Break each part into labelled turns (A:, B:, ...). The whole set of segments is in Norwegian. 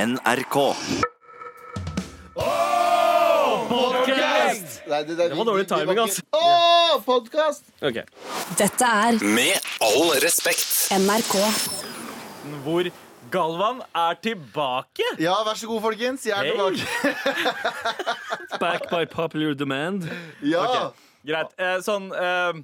A: NRK.
B: Nei, det, det,
C: var dårlig timing, altså. ass.
B: Åh, podcast!
C: Ok.
D: Dette er
A: Med all respekt.
D: NRK.
C: Hvor Galvan er tilbake!
B: Ja, vær så god, folkens. Jeg er
C: Hei.
B: tilbake.
E: Back by popular demand.
B: Ja.
C: Greit. Eh, sånn eh,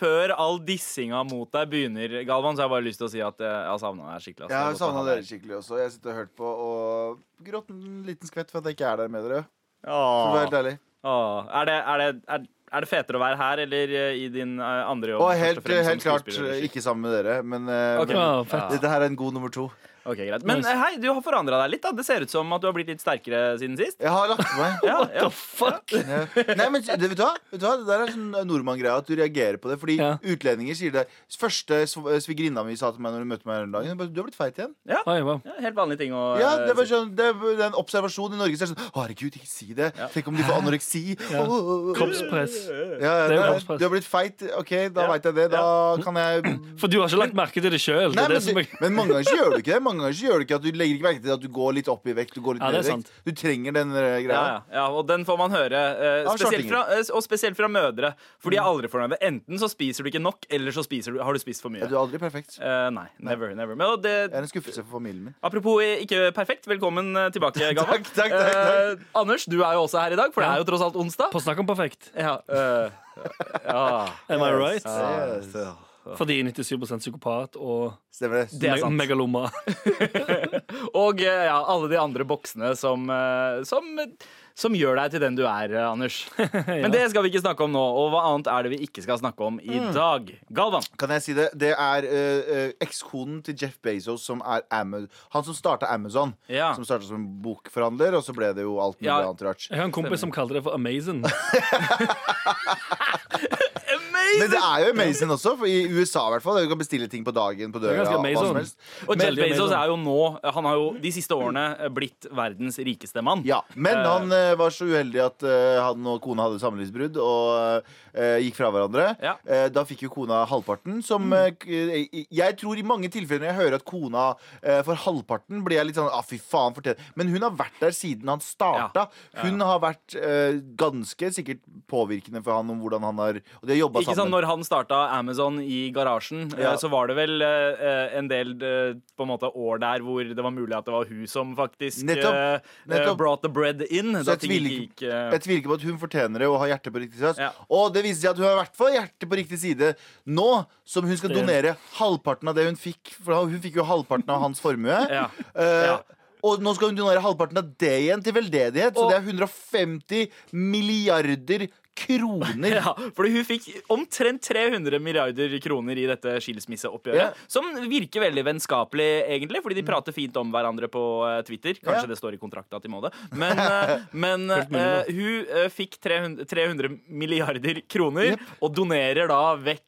C: før all dissinga mot deg begynner, Galvan, så har jeg bare lyst til å si at eh, jeg har savna deg skikkelig.
B: Jeg
C: ass. Det er
B: har
C: godt å ha
B: savna
C: deg.
B: dere skikkelig også. Jeg sitter og hørt på og gråt en liten skvett for at jeg ikke er der med dere. For å være helt
C: Åh.
B: ærlig.
C: Åh. Er, det, er, det, er, er det fetere å være her eller eh, i din eh, andre jobb?
B: Og
C: først
B: helt,
C: fremst som
B: helt klart eh,
C: skuespiller eller
B: ikke sammen med dere, men eh,
C: Ok.
E: Ja, fett.
B: dette her er en god nummer to.
C: skikkelig? Ok, greit. Men
E: Nice.
C: eh, hei, du har forandra deg litt. da Det ser ut som at du har blitt litt sterkere siden sist.
B: Jeg har lagt på meg.
C: Ja, ja.
E: Fuck!
B: Ja. Nei, men det, vet, du hva? vet du hva? Det der er sånn nordmann-greie at du reagerer på det. Fordi
E: Ja.
B: utlendinger sier det. Første sv- svigerinna mi sa til meg når hun møtte meg her om dagen, hun bare, du har blitt feit igjen.
E: Oi, wow.
C: Ja, Helt vanlige ting å
B: Ja,
C: eh,
B: det var
C: si.
B: sånn, det, det er en observasjon i Norge. Så er det sånn, Herregud, ikke si det. Tenk om de får anoreksi.
E: Ja.
B: Åh, åh, åh.
E: Kroppspress.
B: Ja, ja,
E: Det er jo
B: nei,
E: kroppspress.
B: du har blitt feit. OK, da
C: Ja.
B: veit jeg det. Da kan jeg
E: For du har ikke lagt merke til det sjøl.
B: Nei,
E: Det er det
B: men,
E: som er
B: du- men mange ganger så gjør du ikke det. Mange ganger så gjør du ikke at du legger ikke merke til at du går litt opp i vekt. Du går litt
E: Ja,
B: ned
E: det
B: i
E: er
B: vekt. Du trenger den eh,
C: Ja,
B: greia.
C: ja, ja, og den får man høre. eh,
B: Av
C: spesielt
B: shortinger.
C: fra, eh, og spesielt fra mødre. For
B: Mm.
C: de er aldri fornøyde. Enten så spiser du ikke nok, eller så spiser du, har du spist for mye.
B: Du er aldri perfekt.
C: Eh, nei, never, never. Men, og
B: Det er
C: det,
B: en skuffelse for familien min.
C: apropos eh, ikke perfekt, velkommen eh, tilbake, Galvan.
B: Takk, takk, takk, takk.
C: Eh, Anders, du er jo også her i dag, for det er jo tross alt onsdag.
E: På snakk om perfekt.
C: Ja, eh, ja.
E: Am I right?
B: Yes, yes.
E: Fordi 97 psykopat og
B: Stemmer det.
C: Det er sant.
E: me- megaloma.
C: Og eh, ja, alle de andre boksene som, eh, som, som gjør deg til den du er, eh, Anders. Men det skal vi ikke snakke om nå. Og hva annet er det vi ikke skal snakke om
B: Mm.
C: i dag? Galvan.
B: Kan jeg si det? Det er eh, eh, ekskonen til Jeff Bezos, som er Ama- han som starta Amazon.
C: Ja.
B: Som starta som bokforhandler, og så ble det jo alt mulig
C: Ja.
B: annet rart.
E: Jeg har en kompis som kaller det for amazing.
B: Men det er jo Amazon også, for i USA i hvert fall. Du kan bestille ting på dagen, på døra,
E: ganske
B: hva
E: amazing.
B: som helst.
C: Og Jeff
E: Veldig
C: Bezos
E: amazing.
C: er jo
B: sånn-
C: nå Han har jo de siste årene eh, blitt verdens rikeste mann.
B: Ja, Men
C: Eh,
B: han eh, var så uheldig at eh, han og kona hadde samlivsbrudd og eh, gikk fra hverandre.
C: Ja. Mm.
B: Eh, da fikk jo kona halvparten, som eh, k- eh, Jeg tror i mange tilfeller når jeg hører at kona eh, får halvparten, blir jeg litt sånn ah, fy faen, fortjent. Men hun har vært der siden han starta. Hun har vært eh, ganske sikkert påvirkende for han om hvordan han har Og de har jobba
C: Ikke sant,
B: sammen.
C: Når han starta Amazon i garasjen, eh,
B: Ja.
C: så var det vel eh, en del eh, på en måte år der hvor det var mulig at det var hun som faktisk
B: Nettopp.
C: eh, eh,
B: Nettopp.
C: brought the bread in.
B: Så
C: Da
B: jeg
C: ting
B: tviler,
C: ikke
B: ikke,
C: gikk eh,
B: jeg tviler ikke på at hun fortjener det og har hjertet på riktig side.
C: Ja.
B: Og det viser seg at hun har i hvert fall hjertet på riktig side nå som hun skal
E: Det-
B: donere halvparten av det hun fikk. For hun fikk jo halvparten av hans formue.
C: Ja.
B: Eh,
C: Ja.
B: Og nå skal hun donere halvparten av det igjen til veldedighet. Så
C: Og-
B: det er 150 milliarder kroner.
C: Ja, fordi hun fikk omtrent 300 milliarder kroner i dette skilsmisseoppgjøret.
B: Ja. Mm.
C: Som virker veldig vennskapelig, egentlig, fordi de prater fint om hverandre på eh, Twitter. Kanskje
B: Ja.
C: det står i kontrakten at de må det. Men, eh, men
E: Helt mulig,
C: eh, hun eh, fikk 300, 300 milliarder kroner, og donerer da vekk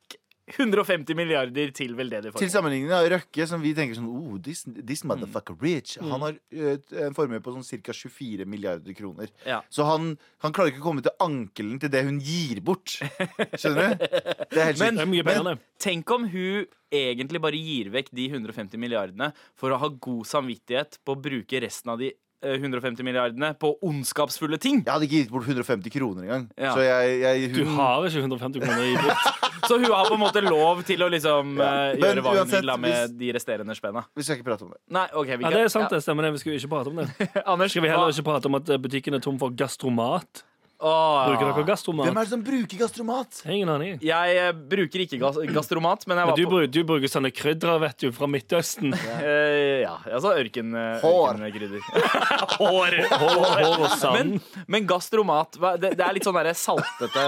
C: 150 milliarder til
B: Til
C: veldedige formål.
B: sammenligning av Røkke, som vi tenker sånn oh, this, this
E: Mm.
B: motherfucker rich. Han har eh, en formue på sånn ca. 24 milliarder kroner.
C: Ja.
B: Så han, han klarer ikke å komme til ankelen til det hun gir bort. Skjønner du? Det er helt
E: Det
B: men,
E: er mye bedre.
C: Tenk om hun egentlig bare gir vekk de 150 milliardene for å ha god samvittighet på å bruke resten av de eh, 150 milliardene på ondskapsfulle ting.
B: Jeg hadde ikke gitt bort 150 kroner engang.
C: Ja.
B: Så jeg, jeg
E: Du
B: hun,
E: har ikke 150 kroner i brukt.
C: Så hun har på en måte lov til å liksom eh,
B: Men
C: gjøre hva hun
B: uansett,
C: vil da med
B: hvis-
C: de resterende spenna.
B: Vi skal ikke prate om det.
C: Nei, ok, vi
E: Ja,
C: kan-
E: det er sant, det stemmer. det Vi skulle ikke prate om det.
C: Ja. Anders,
E: Skal vi heller ikke prate om at eh, butikken er tom for gastromat?
C: Åh.
E: Bruker dere gastromat?
B: Hvem er det som bruker gastromat?
E: Jeg har Ingen aning.
C: Jeg eh, bruker ikke gas gastromat, men jeg
E: Men
C: var
E: du,
C: på
E: bruker, du bruker sånne krydder, vet du, fra Midtøsten.
C: eh, Ja, altså ørken, eh,
B: Hår.
C: ørkenkrydder.
E: Hår, hår, hår og sand.
C: Men, men gastromat hva- det, det er litt sånn derre saltete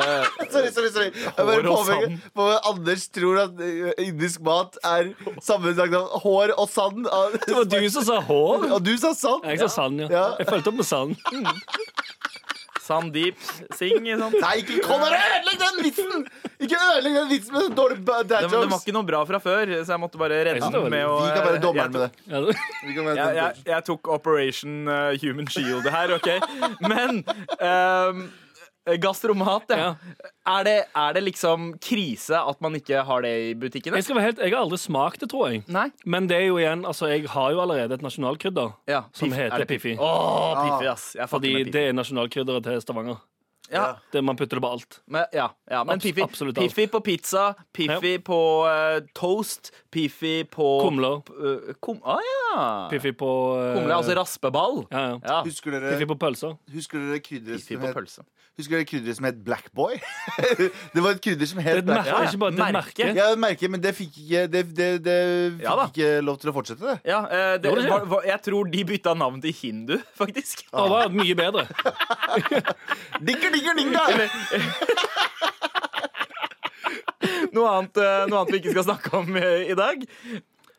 B: Sorry, sorry. sorry Jeg bare
C: Hår og
B: påpeker
C: sand.
B: på Anders tror at ø, indisk mat er sammenlagt av hår og sand. av-
E: Det var du som sa hår.
B: Og du sa sand.
E: Jeg sa sand, ja.
B: Ja.
E: Jeg fulgte opp med sand.
C: Sandeep Singh. Sånn.
B: Nei, ikke kom og ødelegg den vitsen! Ikke ødelegg den vitsen med sånne dårlige dad
C: Det, det var
B: jokes.
C: ikke noe bra fra før, så jeg måtte bare redde
E: Ja,
C: den med å
B: Vi kan være
C: eh, jeg
B: dommeren med det.
E: Ja.
B: Vi kan være
C: jeg,
B: dommeren.
C: jeg, jeg tok Operation eh, Human Shield her, OK? Men ehm, Eh, Gastromat, ja.
E: Ja.
C: Er, det, er det liksom krise at man ikke har det i butikkene?
E: Jeg, skal være helt, jeg har aldri smakt det, tror jeg.
C: Nei.
E: Men det er jo igjen, altså, jeg har jo allerede et nasjonalkrydder
C: Ja,
E: som
C: piff- er
E: heter Ah,
C: det
E: Piffi.
C: Å, Piffi, ass. Jeg fucker
E: Fordi
C: med Piffi.
E: det er nasjonalkrydderet til Stavanger.
C: Ja,
E: Det, man putter det på alt.
C: men, ja, ja, men
E: Abs-
C: Piffi,
E: absolutt alt.
C: Piffi på pizza, Piffi på eh, toast, Piffi på
E: Kumler.
C: eh, kum, ah, ja.
E: Piffi på eh,
C: Kumle, altså raspeball.
E: ja, ja.
C: Ja.
B: Husker
E: Piffi
B: dere,
E: på pølser.
B: husker dere krydderet
C: Piffi
B: som
C: på
B: het-
C: pølse.
B: Husker dere krydderet som het Black Boy? det var et krydder som
E: Det
B: het
E: er et
B: Black
E: merke,
C: Ja, ja.
E: ikke bare det er et merke.
C: Merke.
B: Ja, jeg merker, men det fikk ikke, det, det, det fikk
C: Ja da.
B: ikke lov til å fortsette, det.
C: Ja, eh, det,
E: Gjorde det?
C: var, var, jeg tror de bytta navn til hindu, faktisk.
E: Det var mye bedre.
B: Dikker, dikker, ding, da!
C: Noe annet, eh, noe annet vi ikke skal snakke om eh, i dag.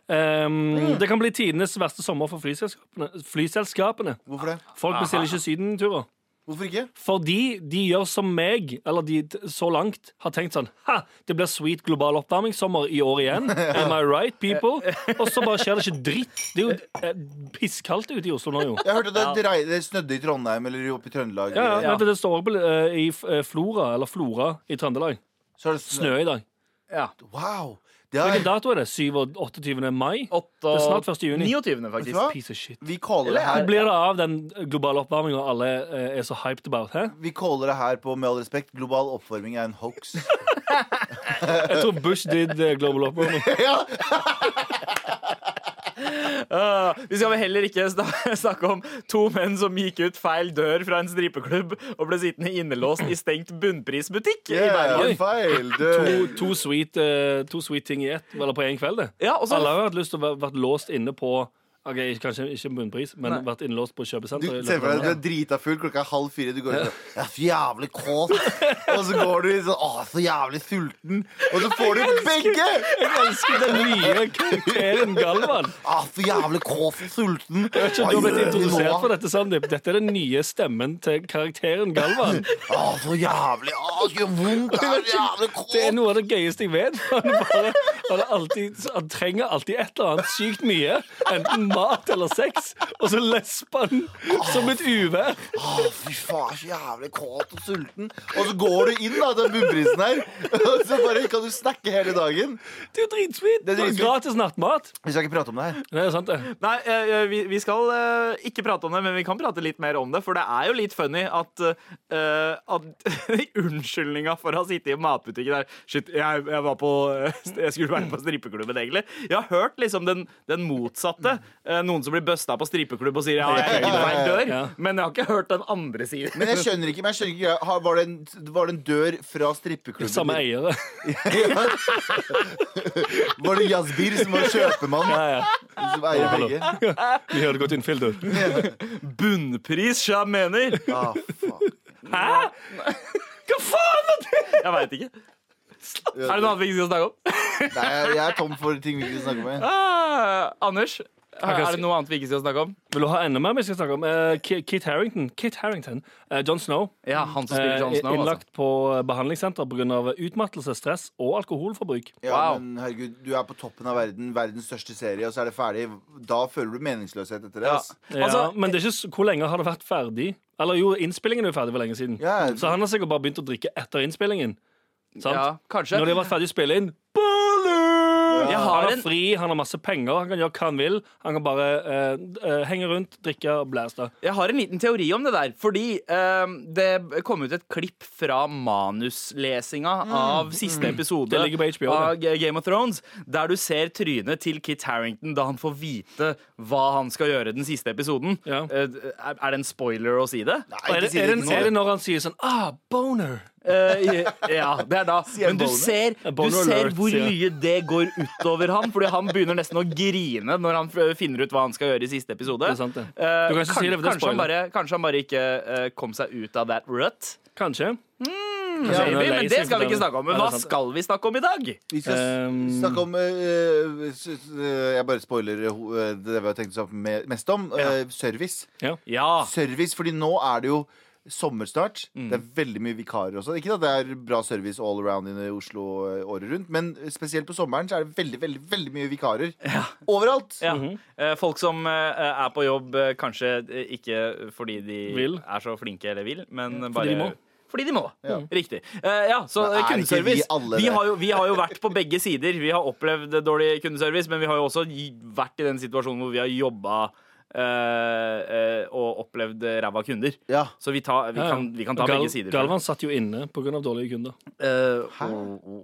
C: Mm.
E: Ehm, det kan bli tidenes verste sommer for flyselskapene. flyselskapene.
B: Hvorfor det?
E: Folk bestiller ikke sydenturer.
B: Hvorfor ikke?
E: Fordi de gjør som meg, eller de t- så langt har tenkt sånn Ha! Det blir sweet global oppvarmingssommer i år igjen. Am I right, people? Og så bare skjer det ikke dritt. Det er jo eh, pisskaldt ute i Oslo nå, jo.
B: Jeg hørte at det, drei- det snødde i Trondheim eller oppe i Trøndelag.
E: Ja, ja,
C: Ja.
E: men Det står også på, eh, i F- eh, Flora, eller Flora i Trøndelag.
B: Så er det snø.
E: Snø i dag.
C: Ja.
B: Wow! Det har,
E: Hvilken dato er det? 7. og 28. mai?
C: Åtte-
E: Det er snart 1. juni.
C: 29.
B: Vet
C: faktisk.
B: du hva?
E: Piece of shit.
B: vi kaller det
E: Hva
B: her
E: blir det av den globale oppvarminga alle eh, er så hyped about? Hæ?
B: Vi kaller det her på Med all respekt global oppvarming er en hoax.
E: Jeg tror Bush did eh, global oppvarming.
B: ja.
C: Øh, vi skal vel heller ikke sna snakke om to menn som gikk ut feil dør fra en stripeklubb og ble sittende innelåst i stengt bunnprisbutikk i Bergen.
B: Yeah, feil,
E: To,
B: du.
E: to, sweet, eh, to sweet ting i ett, eller på én kveld, det.
C: Ja, og så-
E: Alle har hatt lyst til å være vært låst inne på Ok, Kanskje ikke bunnpris, men
C: Nei.
E: vært innelåst på
B: Du,
E: kjøpesenter. i
B: se for deg, du
E: løpet av
B: er drita full, klokka er halv fire. Du går ut og Jeg er så jævlig kåt. Og så går du i sånn Å, så jævlig sulten. Og så får du begge!
E: dagen. Jeg elsker den nye karakteren Galvan.
B: Å, så jævlig kåt og sulten.
E: Jeg vet ikke om du har blitt
B: Hva gjør vi
E: introdusert
B: nå?
E: for dette, Sandeep. Dette er den nye stemmen til karakteren Galvan.
B: Å, så jævlig Å, så gjør vondt. Jeg er så jævlig kåt.
E: Det er noe av det gøyeste jeg vet. for Han, bare, han, er alltid, han trenger alltid et eller annet sykt mye. Enten mat eller sex. Og så lesper han som et uvær.
B: Å, fy faen, så jævlig kåt og sulten. Og så går du inn da, den bunnprisen her, og så bare kan du snakke hele dagen.
E: Det er jo dritsweet.
B: Det er dritsweet.
E: Gratis nattmat.
B: Vi skal ikke prate om det her.
E: Det er sant, det.
C: Nei, øh, vi, vi skal øh, ikke prate om det, men vi kan prate litt mer om det. For det er jo litt funny at, øh, at unnskyldninga for å ha sittet i matbutikken der Shit, jeg, jeg, var på, jeg skulle være på strippeklubben, egentlig. Jeg har hørt liksom den, den motsatte. Eh, Noen som blir busta på strippeklubb og sier ja, jeg gikk feil dør.
E: Ja.
C: Men jeg har ikke hørt den andre siden.
B: Men jeg skjønner ikke, men jeg skjønner ikke greia. Har- var, det en, var det en dør fra strippeklubben?
E: Samme eiere.
B: Var det Jasbir som var kjøpemann?
E: Ja, ja.
B: Som eier begge?
E: Vi hører godt innfyll, du.
C: Bunnpris, sja mener.
B: Ah, faen.
E: Hva faen er det?!
C: Jeg veit ikke. Er det noe annet vi ikke skal snakke om?
B: Nei, jeg jeg er tom for ting vi ikke snakker om. jeg.
C: Ah, Anders,
E: kan
C: er det
E: si-
C: noe annet vi ikke skal snakke om?
E: Vil du ha enda mer vi skal snakke om? Eh, Ki- Kit Harrington. Kit Harrington. Eh, John Snow.
C: Ja, han som
E: eh,
C: spiller John Snow. Altså.
E: innlagt på eh, behandlingssenter pga. utmattelse, stress og alkoholforbruk.
B: Ja,
C: Wow.
B: men herregud, Du er på toppen av verden, verdens største serie, og så er det ferdig. Da føler du meningsløshet etter det.
C: Ja.
B: ass.
E: ja,
C: Altså,
E: men det er ikke, s- hvor lenge har det vært ferdig? Eller jo, innspillingen er jo ferdig for lenge siden.
B: Ja, ja.
E: Så han har sikkert bare begynt å drikke etter innspillingen. Sant?
C: ja, kanskje.
E: Når de har vært ferdig å spille inn
C: Jeg
E: Han
C: har
E: har
C: en
E: fri, han har masse penger, han kan gjøre hva han vil. Han kan bare eh, eh, henge rundt, drikke og blæste.
C: Jeg har en liten teori om det der. Fordi ehm, det kom ut et klipp fra manuslesinga av siste episode
E: Mm. Det ligger på HBO,
C: av G- Game of Thrones, der du ser trynet til Kit Harrington da han får vite hva han skal gjøre den siste episoden.
E: Ja.
C: Eh, er, er det en spoiler å si det?
B: Nei, ikke
E: Er det,
B: si
E: er,
B: det
E: det,
B: ikke
E: er det
B: nå.
E: når han sier sånn Ah, boner!
C: Eh, ja, det er da. Men
B: en
C: du
B: boner.
C: ser, du
E: boner
C: ser
E: alert,
C: hvor
E: sier
C: mye
E: jeg.
C: det går utover han. Fordi han begynner nesten å grine når han f- finner ut hva han skal gjøre i siste episode.
E: Det er sant, det.
C: Eh,
E: Du kan ikke si det, for det er
C: kanskje, han bare,
E: spoiler.
C: kanskje han bare ikke eh, kom seg ut av that rut.
E: Kanskje.
C: Maybe,
E: han er lei
C: men det
E: seg
C: skal vi ikke
E: for Mm. det.
C: snakke om. Men
E: Ja, det
C: hva
E: er sant.
C: skal vi snakke om i dag?
B: Vi skal s-
E: Um,
B: snakke om eh, s- s- eh, Jeg bare spoiler eh, ho- eh, det vi har tenkt å snakke me- mest om. eh, service.
E: Ja.
C: Ja.
B: Service, fordi nå er det jo sommer snart.
C: Mm.
B: Det er veldig mye vikarer også. Ikke at det er bra service all around i Oslo eh, året rundt, men spesielt på sommeren så er det veldig, veldig, veldig mye vikarer. Overalt!
C: ja. Eh, Folk som eh, er på jobb, eh, kanskje eh, ikke fordi de
E: Vil.
C: er så flinke eller vil, men bare
E: de må.
C: Fordi de må.
B: Ja.
C: Riktig. Eh, ja, så
B: Men er ikke
C: kundeservice.
B: vi alle
C: Vi
B: det?
C: har, jo, vi har jo vært på begge sider. Vi har opplevd dårlig kundeservice, men vi har jo også gi- vært i den situasjonen hvor vi har jobba eh, eh, og opplevd ræva kunder.
B: Ja.
C: Så vi, tar, vi, kan, vi kan ta
E: Gal-
C: begge sider.
E: Galvan satt jo inne pga. dårlige kunder.
C: Eh,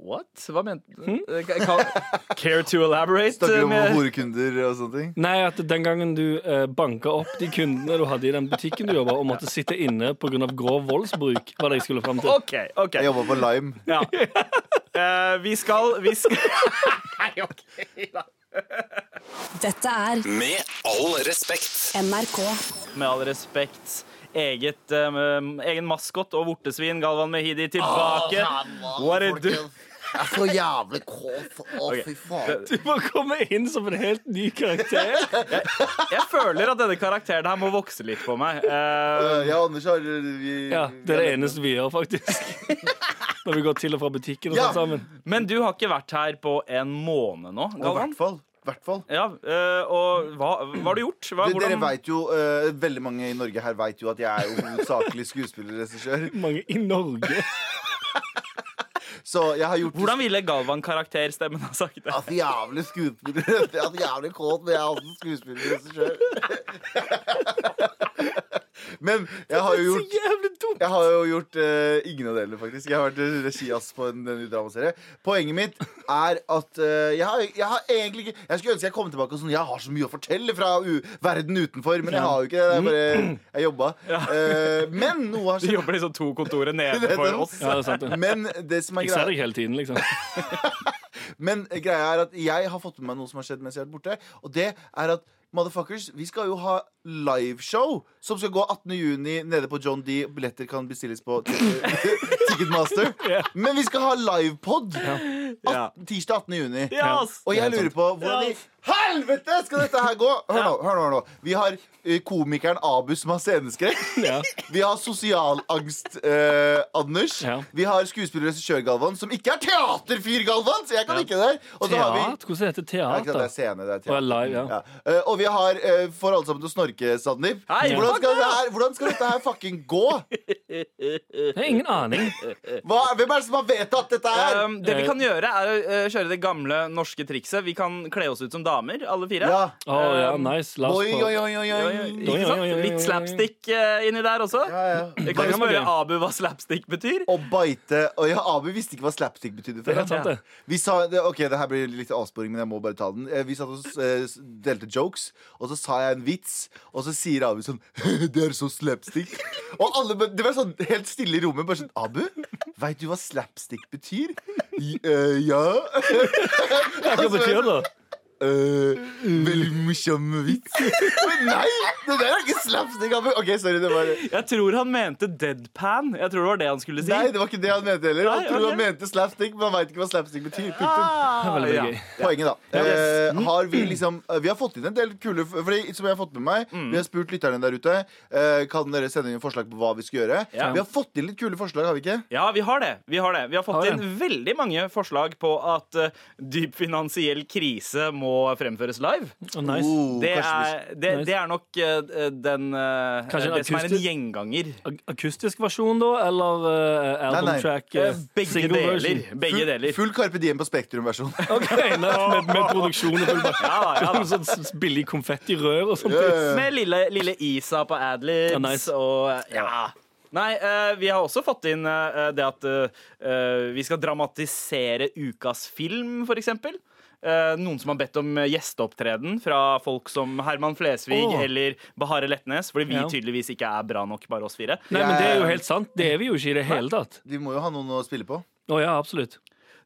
C: what? Hva mente Eh, ka- ka- Care to elaborate?
B: Snakker om
C: med-
B: horekunder og sånne ting.
E: Nei, at den gangen du eh, banka opp de kundene du hadde i den butikken du jobba, og måtte sitte inne pga. grov voldsbruk, var det jeg skulle fram til.
C: OK. ok
B: Jeg jobba på Lime.
C: ja. Eh, Vi skal, vi skal Nei, OK.
D: Dette er
A: Med all respekt.
D: NRK.
C: Med all respekt. Eget, eh, egen maskot og vortesvin, Galvan Mehidi, tilbake. What a do
B: Jeg er så jævlig kåt. Å, fy faen.
E: Du må komme inn som en helt ny karakter.
C: Jeg føler at denne karakteren her må vokse litt på meg. Eh,
B: Jeg og Anders har vi,
E: Ja, Det er det eneste vi gjør, faktisk. Når vi går til og fra butikken og
B: Ja.
E: sånn sammen.
C: men du har ikke vært her på en måned nå,
B: I
C: Galvan.
B: hvert fall. Hvert fall.
C: Ja, eh, og hva, hva har du gjort? Hva,
B: De- Dere
C: hvordan-
B: vet jo, eh, Veldig mange i Norge her veit jo at jeg er jo hovedsakelig skuespiller og regissør.
E: Mange i Norge.
B: Så jeg har gjort
C: Hvordan ville Galvan-karakterstemmen ha sagt det?
B: Jeg er så jævlig skuespiller. Jeg er så jævlig kåt, men jeg er også skuespiller og regissør. Men jeg har jo gjort
E: Jævlig dumt.
B: jeg har jo gjort eh, ingen av delene, faktisk. Jeg har vært regiass på en, en ny dramaserie. Poenget mitt er at eh, jeg, har, jeg har egentlig ikke Jeg skulle ønske jeg kom tilbake og sånn Jeg har så mye å fortelle fra u verden utenfor, men jeg har jo ikke det. det. er bare, jeg jobba. Eh, men noe har
C: Du
B: skjedd.
C: jobber liksom to kontorer nede for oss.
E: Ja, det er sant. det.
B: Men det som er
E: Jeg
B: greia
E: ser deg hele tiden, liksom.
B: Men greia er at jeg har fått med meg noe som har skjedd mens jeg har vært borte. Og det er at Motherfuckers, vi skal jo ha liveshow som skal gå 18.6 nede på John D. Billetter kan bestilles på Ticketmaster. Men vi skal ha livepod
C: Ja.
B: tirsdag 18.6.
C: Ja, ass.
B: Og jeg lurer på hvordan i helvete skal dette her gå? Hør nå. hør nå, hør nå. Vi har eh, komikeren Abu som har sceneskrekk.
E: Ja.
B: Vi har sosialangst eh, Anders.
E: Ja.
B: Vi har skuespiller og regissør Galvan, som ikke er teaterfyr Galvan! Så jeg kan ikke det. Og så har vi
E: Teater? Hvordan heter
B: Ja, ikke sant, det er
E: teater?
B: scene, det er
E: Og
B: teater.
E: live, ja.
B: Ja. Eh, og vi har eh, For alle sammen til å snorke, Sandeep.
C: Hei,
B: Hvordan,
C: fuck
B: skal dette her- hvordan skal dette her fucking gå?
E: Jeg har ingen aning.
B: Hva, hvem er det som har vedtatt dette her?
C: Um, det vi kan gjøre, er å eh, kjøre det gamle norske trikset. Vi kan kle oss ut som damer, alle fire.
B: ja.
E: Å ja, nice. La oss
B: Oi, oi,
E: få
B: oi, oi,
C: Oi,
B: oi.
C: oi,
E: Mm.
C: Ikke sant? Litt slapstick eh, inni der også.
B: Ja, ja.
C: Jeg kan jo
E: kan være
C: spørre
E: gøy.
C: Abu hva slapstick betyr.
B: Å bite Og ja, Abu visste ikke hva slapstick betydde
E: Det
B: før.
E: er helt sant, det.
B: Vi sa, det, ok, det her blir litt avsporing, men jeg må bare ta den. Eh, Vi satt og eh, s- delte jokes, og så sa jeg en vits, og så sier Abu sånn Det er så slapstick. Og alle, bare- det var sånn helt stille i rommet. Bare sånn Abu, veit du hva slapstick betyr? «I- eh, ja.
E: Hva betyr det?
B: Eh, veldig morsom vits. Men nei! Det der er ikke slapstick, Abu. Ok, sorry. Det var
C: Jeg tror han mente deadpan. Jeg tror det var det han skulle si.
B: Nei, det var ikke det han mente heller. Han
C: Nei,
B: tror
C: ok.
B: han mente slapstick, men han veit ikke hva slapstick betyr. Punktum.
C: Ah,
E: Veldig
C: ja.
E: gøy.
B: Poenget, da. Eh, har vi
C: Mm.
B: liksom eh, Vi har fått inn en del kule Fordi som jeg har fått med meg Vi har spurt lytterne der ute. Eh, kan dere sende inn forslag på hva vi skal gjøre?
C: Ja.
B: Vi har fått inn litt kule forslag, har vi ikke?
C: ja, vi har det. Vi har det. Vi har fått
E: Har det.
C: inn veldig mange forslag på at eh, dyp finansiell krise må fremføres live.
E: Å, nice.
B: Oh,
C: Det
B: kanskje
C: er, det,
E: Nice.
C: det er nok eh, den eh,
E: Kanskje en
C: Det som er en
E: akustisk-
C: gjenganger.
E: Ak- Akustisk versjon, da? Eller eh, album
B: Nei, nei.
E: track? eh,
C: Eh, Begge
E: single version?
C: deler.
B: vi
C: Begge
B: skal- full,
C: deler.
B: full Carpe Diem på Spektrum-versjon.
E: Ok, nei, med, med produksjon og full pakke.
C: Ja, da, ja, da.
E: Sånn s- billig konfettirør og sånt.
C: Med lille, lille Isa på adlibs
E: eh, Ja, nice.
C: og eh, ja. Nei, eh, vi har også fått inn eh, det at eh, vi skal dramatisere ukas film, for eksempel. Eh, noen som har bedt om eh, gjesteopptreden fra folk som Herman Flesvig
E: Åh.
C: eller Bahareh Letnes, fordi vi
E: Ja.
C: tydeligvis ikke er bra nok, bare oss fire.
E: Nei, men det er jo helt sant. Det er vi jo ikke i det hele tatt.
B: Vi må jo ha noen å spille på.
E: Å ja, absolutt.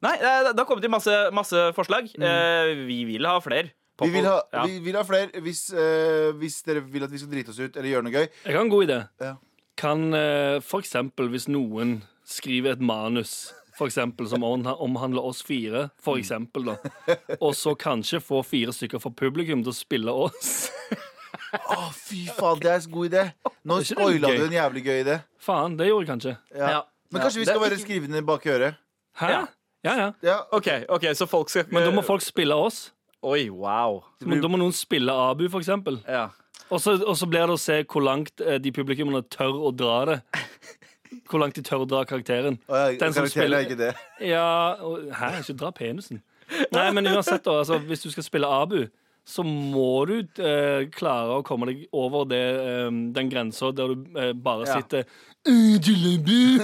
C: Nei, eh, det har kommet inn masse, masse forslag.
E: Mm.
C: Eh, vi vil ha flere.
B: Vi vil ha,
C: Ja.
B: vi vil ha flere hvis, eh, hvis dere vil at vi skal drite oss ut eller gjøre noe gøy.
E: Jeg har en god idé.
B: Ja.
E: Kan eh, for eksempel hvis noen skriver et manus for eksempel, som omha- omhandler oss fire,
B: Mm.
E: for eksempel, da. Og så kanskje få fire stykker fra publikum til å spille oss.
B: Å, fy faen, det er en god idé! Nå
E: Det er ikke det
B: spoila
E: gøy.
B: du en jævlig gøy idé.
E: Faen, det gjorde jeg kanskje.
B: Ja.
C: Ja.
B: Men
C: Ja.
B: kanskje vi
C: Det er
B: skal bare
C: ikke-
B: skrive den ned bak øret.
E: Hæ?
C: Ja.
E: Ja, ja.
B: Ja.
C: OK, ok, så folk skal
E: Men da må folk spille oss.
C: Oi, wow.
E: Men da må noen spille Abu, for eksempel.
C: Ja.
E: Og så og så blir det å se hvor langt eh, de publikummene tør å dra det. hvor langt de tør å dra karakteren.
B: Og jeg-
E: Den som
B: karakteren
E: spiller-
B: er ikke det.
E: Ja, og, Hæ, ikke dra penisen. Nei, men uansett, da. Altså, hvis du skal spille Abu, så må du eh, klare å komme deg over det, eh, den grensa der du eh, bare
C: Ja.
E: sitter «Øh, jalebi!»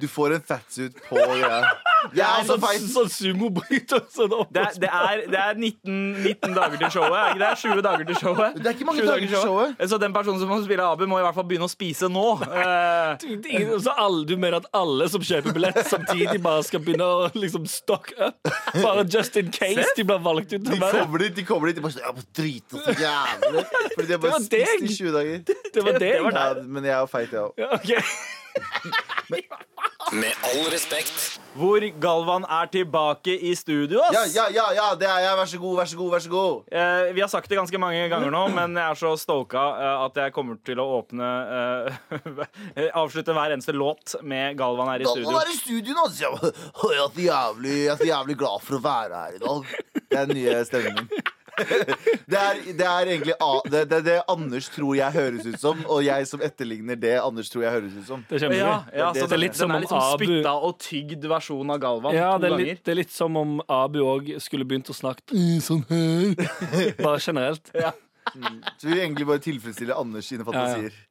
B: Du får en fatsuit på greia. Jeg er så
E: Sånn
B: feit!
E: sånn sumobryter. Sånn opp-
C: Det er, det er, det er 19, 19 dager til showet. er det Ikke det? 20 dager til showet.
B: Det er ikke mange
C: 20
B: dager til showet.
C: Så den personen som må spille Abu, må i hvert fall begynne å spise nå. Eh,
E: Ingen- altså, alle, du mener at alle som kjøper billett samtidig bare skal begynne å liksom stock up? Bare just in case de blir valgt ut?
B: De
E: til å være-
B: kommer dit, de kommer dit de bare sånn, Jeg må drite så jævlig. Fordi de har bare
E: var
B: spist
E: deg.
B: i 20 dager.
E: Det var det.
B: Ja, men jeg er feit, jeg òg.
E: Ja, ok.
A: Med all respekt.
C: hvor Galvan er tilbake i studio, ass.
B: Ja, ja, ja, ja, det er jeg. Vær så god, vær så god. vær så god
C: Eh, vi har sagt det ganske mange ganger nå, men jeg er så stoka eh, at jeg kommer til å åpne eh, Avslutte hver eneste låt med Galvan her i
B: Da må
C: studio.
B: du være i studio nå! sier Jeg «Å, jeg er, så jævlig, jeg er så jævlig glad for å være her i dag. Det er den nye stemmen min. Det er, det er egentlig a- det, det, det Anders tror jeg høres ut som, og jeg som etterligner det Anders tror jeg høres ut som.
E: Det er kjempegøy.
C: Ja, ja, så
E: det, er litt som
C: den er
E: om
C: liksom
E: Abu
C: spytta og tygd versjon av Galvan
E: ja,
C: to
E: det, er litt,
C: ganger.
E: det er litt som om Abu òg skulle begynt å snakke «Mm, sånn her. Bare generelt.
B: Så vi vil egentlig bare tilfredsstille Anders sine fantasier. Å,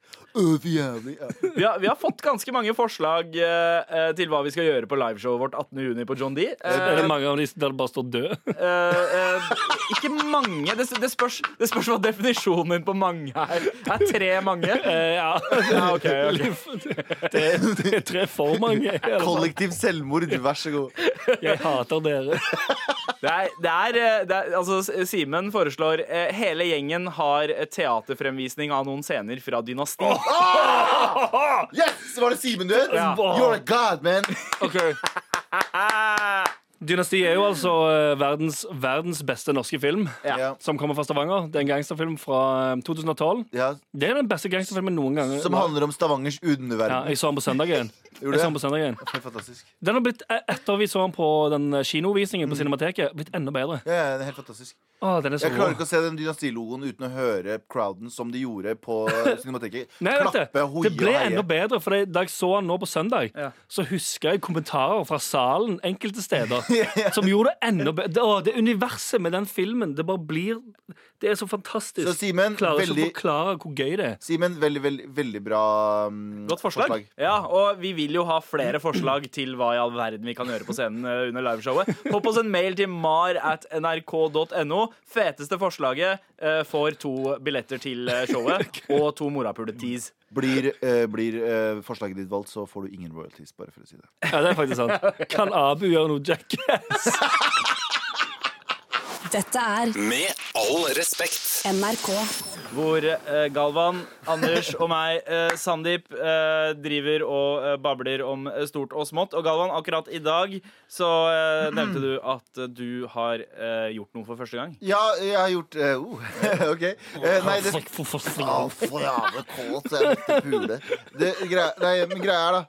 B: så jævlig ja.
C: Vi har, vi har fått ganske mange forslag eh, eh, til hva vi skal gjøre på liveshowet vårt 18.6 på John D. Eh,
E: Er det mange av de der det bare står død?
C: eh, eh, ikke mange. Det, det, spørs, det spørs hva definisjonen din på mange er. Er tre mange?
E: Eh, ja.
C: Ja, ok, ok.
E: Det, er, det er tre for mange.
B: Kollektiv selvmord, vær så god.
E: Jeg hater dere.
C: Det er, det er, eh, det er Altså, S- Simen foreslår eh, hele gjengen har eh, teaterfremvisning av noen scener fra Dynasti.
B: Yes! Var det Simen du het?
C: Ja.
B: You're a god, man!
E: Dynasti er jo altså eh, verdens, verdens beste norske film,
C: Ja.
B: Ja.
E: som kommer fra Stavanger. Det er en gangsterfilm fra eh, 2012.
B: Ja.
E: Det er den beste gangsterfilmen noen gang.
B: Som handler om Stavangers
E: ja,
B: underverden.
E: jeg så den på søndag igjen.
B: Gjorde
E: Jeg så den
B: det?
E: på søndag igjen.
B: Helt fantastisk.
E: Den har blitt, e- Etter vi så den på den eh, kinovisningen på Cinemateket, blitt enda bedre.
B: Mm. Ja, ja, det er helt fantastisk.
E: Å, den er så
B: Jeg klarer
E: rå.
B: ikke å se den dynastilogoen uten å høre crowden som de gjorde på Cinemateket.
E: Nei, vet du,
B: Klappe, hoie
E: det
B: og
E: ble enda
B: heie.
E: bedre, for det- da jeg så den nå på søndag, så husker jeg kommentarer fra salen enkelte steder som gjorde det enda bedre. Det, å, det universet med den filmen, det bare blir Det er så fantastisk.
B: Så Simen,
E: klarer ikke å
B: veldig-
E: forklare hvor gøy det er.
B: Simen, veldig, veldig, veldig bra mm,
C: Godt forslag. Ja, og vi vil jo ha flere forslag til hva i all verden vi kan gjøre på scenen eh, under liveshowet. Hopp oss en mail til mar at nrk.no. Feteste forslaget eh, får to billetter til eh, showet og to morapuletees.
B: Blir, eh, blir eh, forslaget ditt valgt, så får du ingen royalties. bare for å si det.
E: Ja, det er faktisk sant. Kan Abu gjøre noe jackass?
D: Dette er
A: Med all respekt.
D: NRK.
C: Hvor eh, Galvan, Anders og meg, eh, Sandeep, eh, driver og eh, babler om eh, stort og smått. Og Galvan, akkurat i dag så eh, nevnte du at eh, du har eh, gjort noe for første gang.
B: Ja, jeg har gjort eh, oh, OK. Eh, nei, det Å, for jævla kåt jeg er litt pule. Det, greia, nei, men greia er da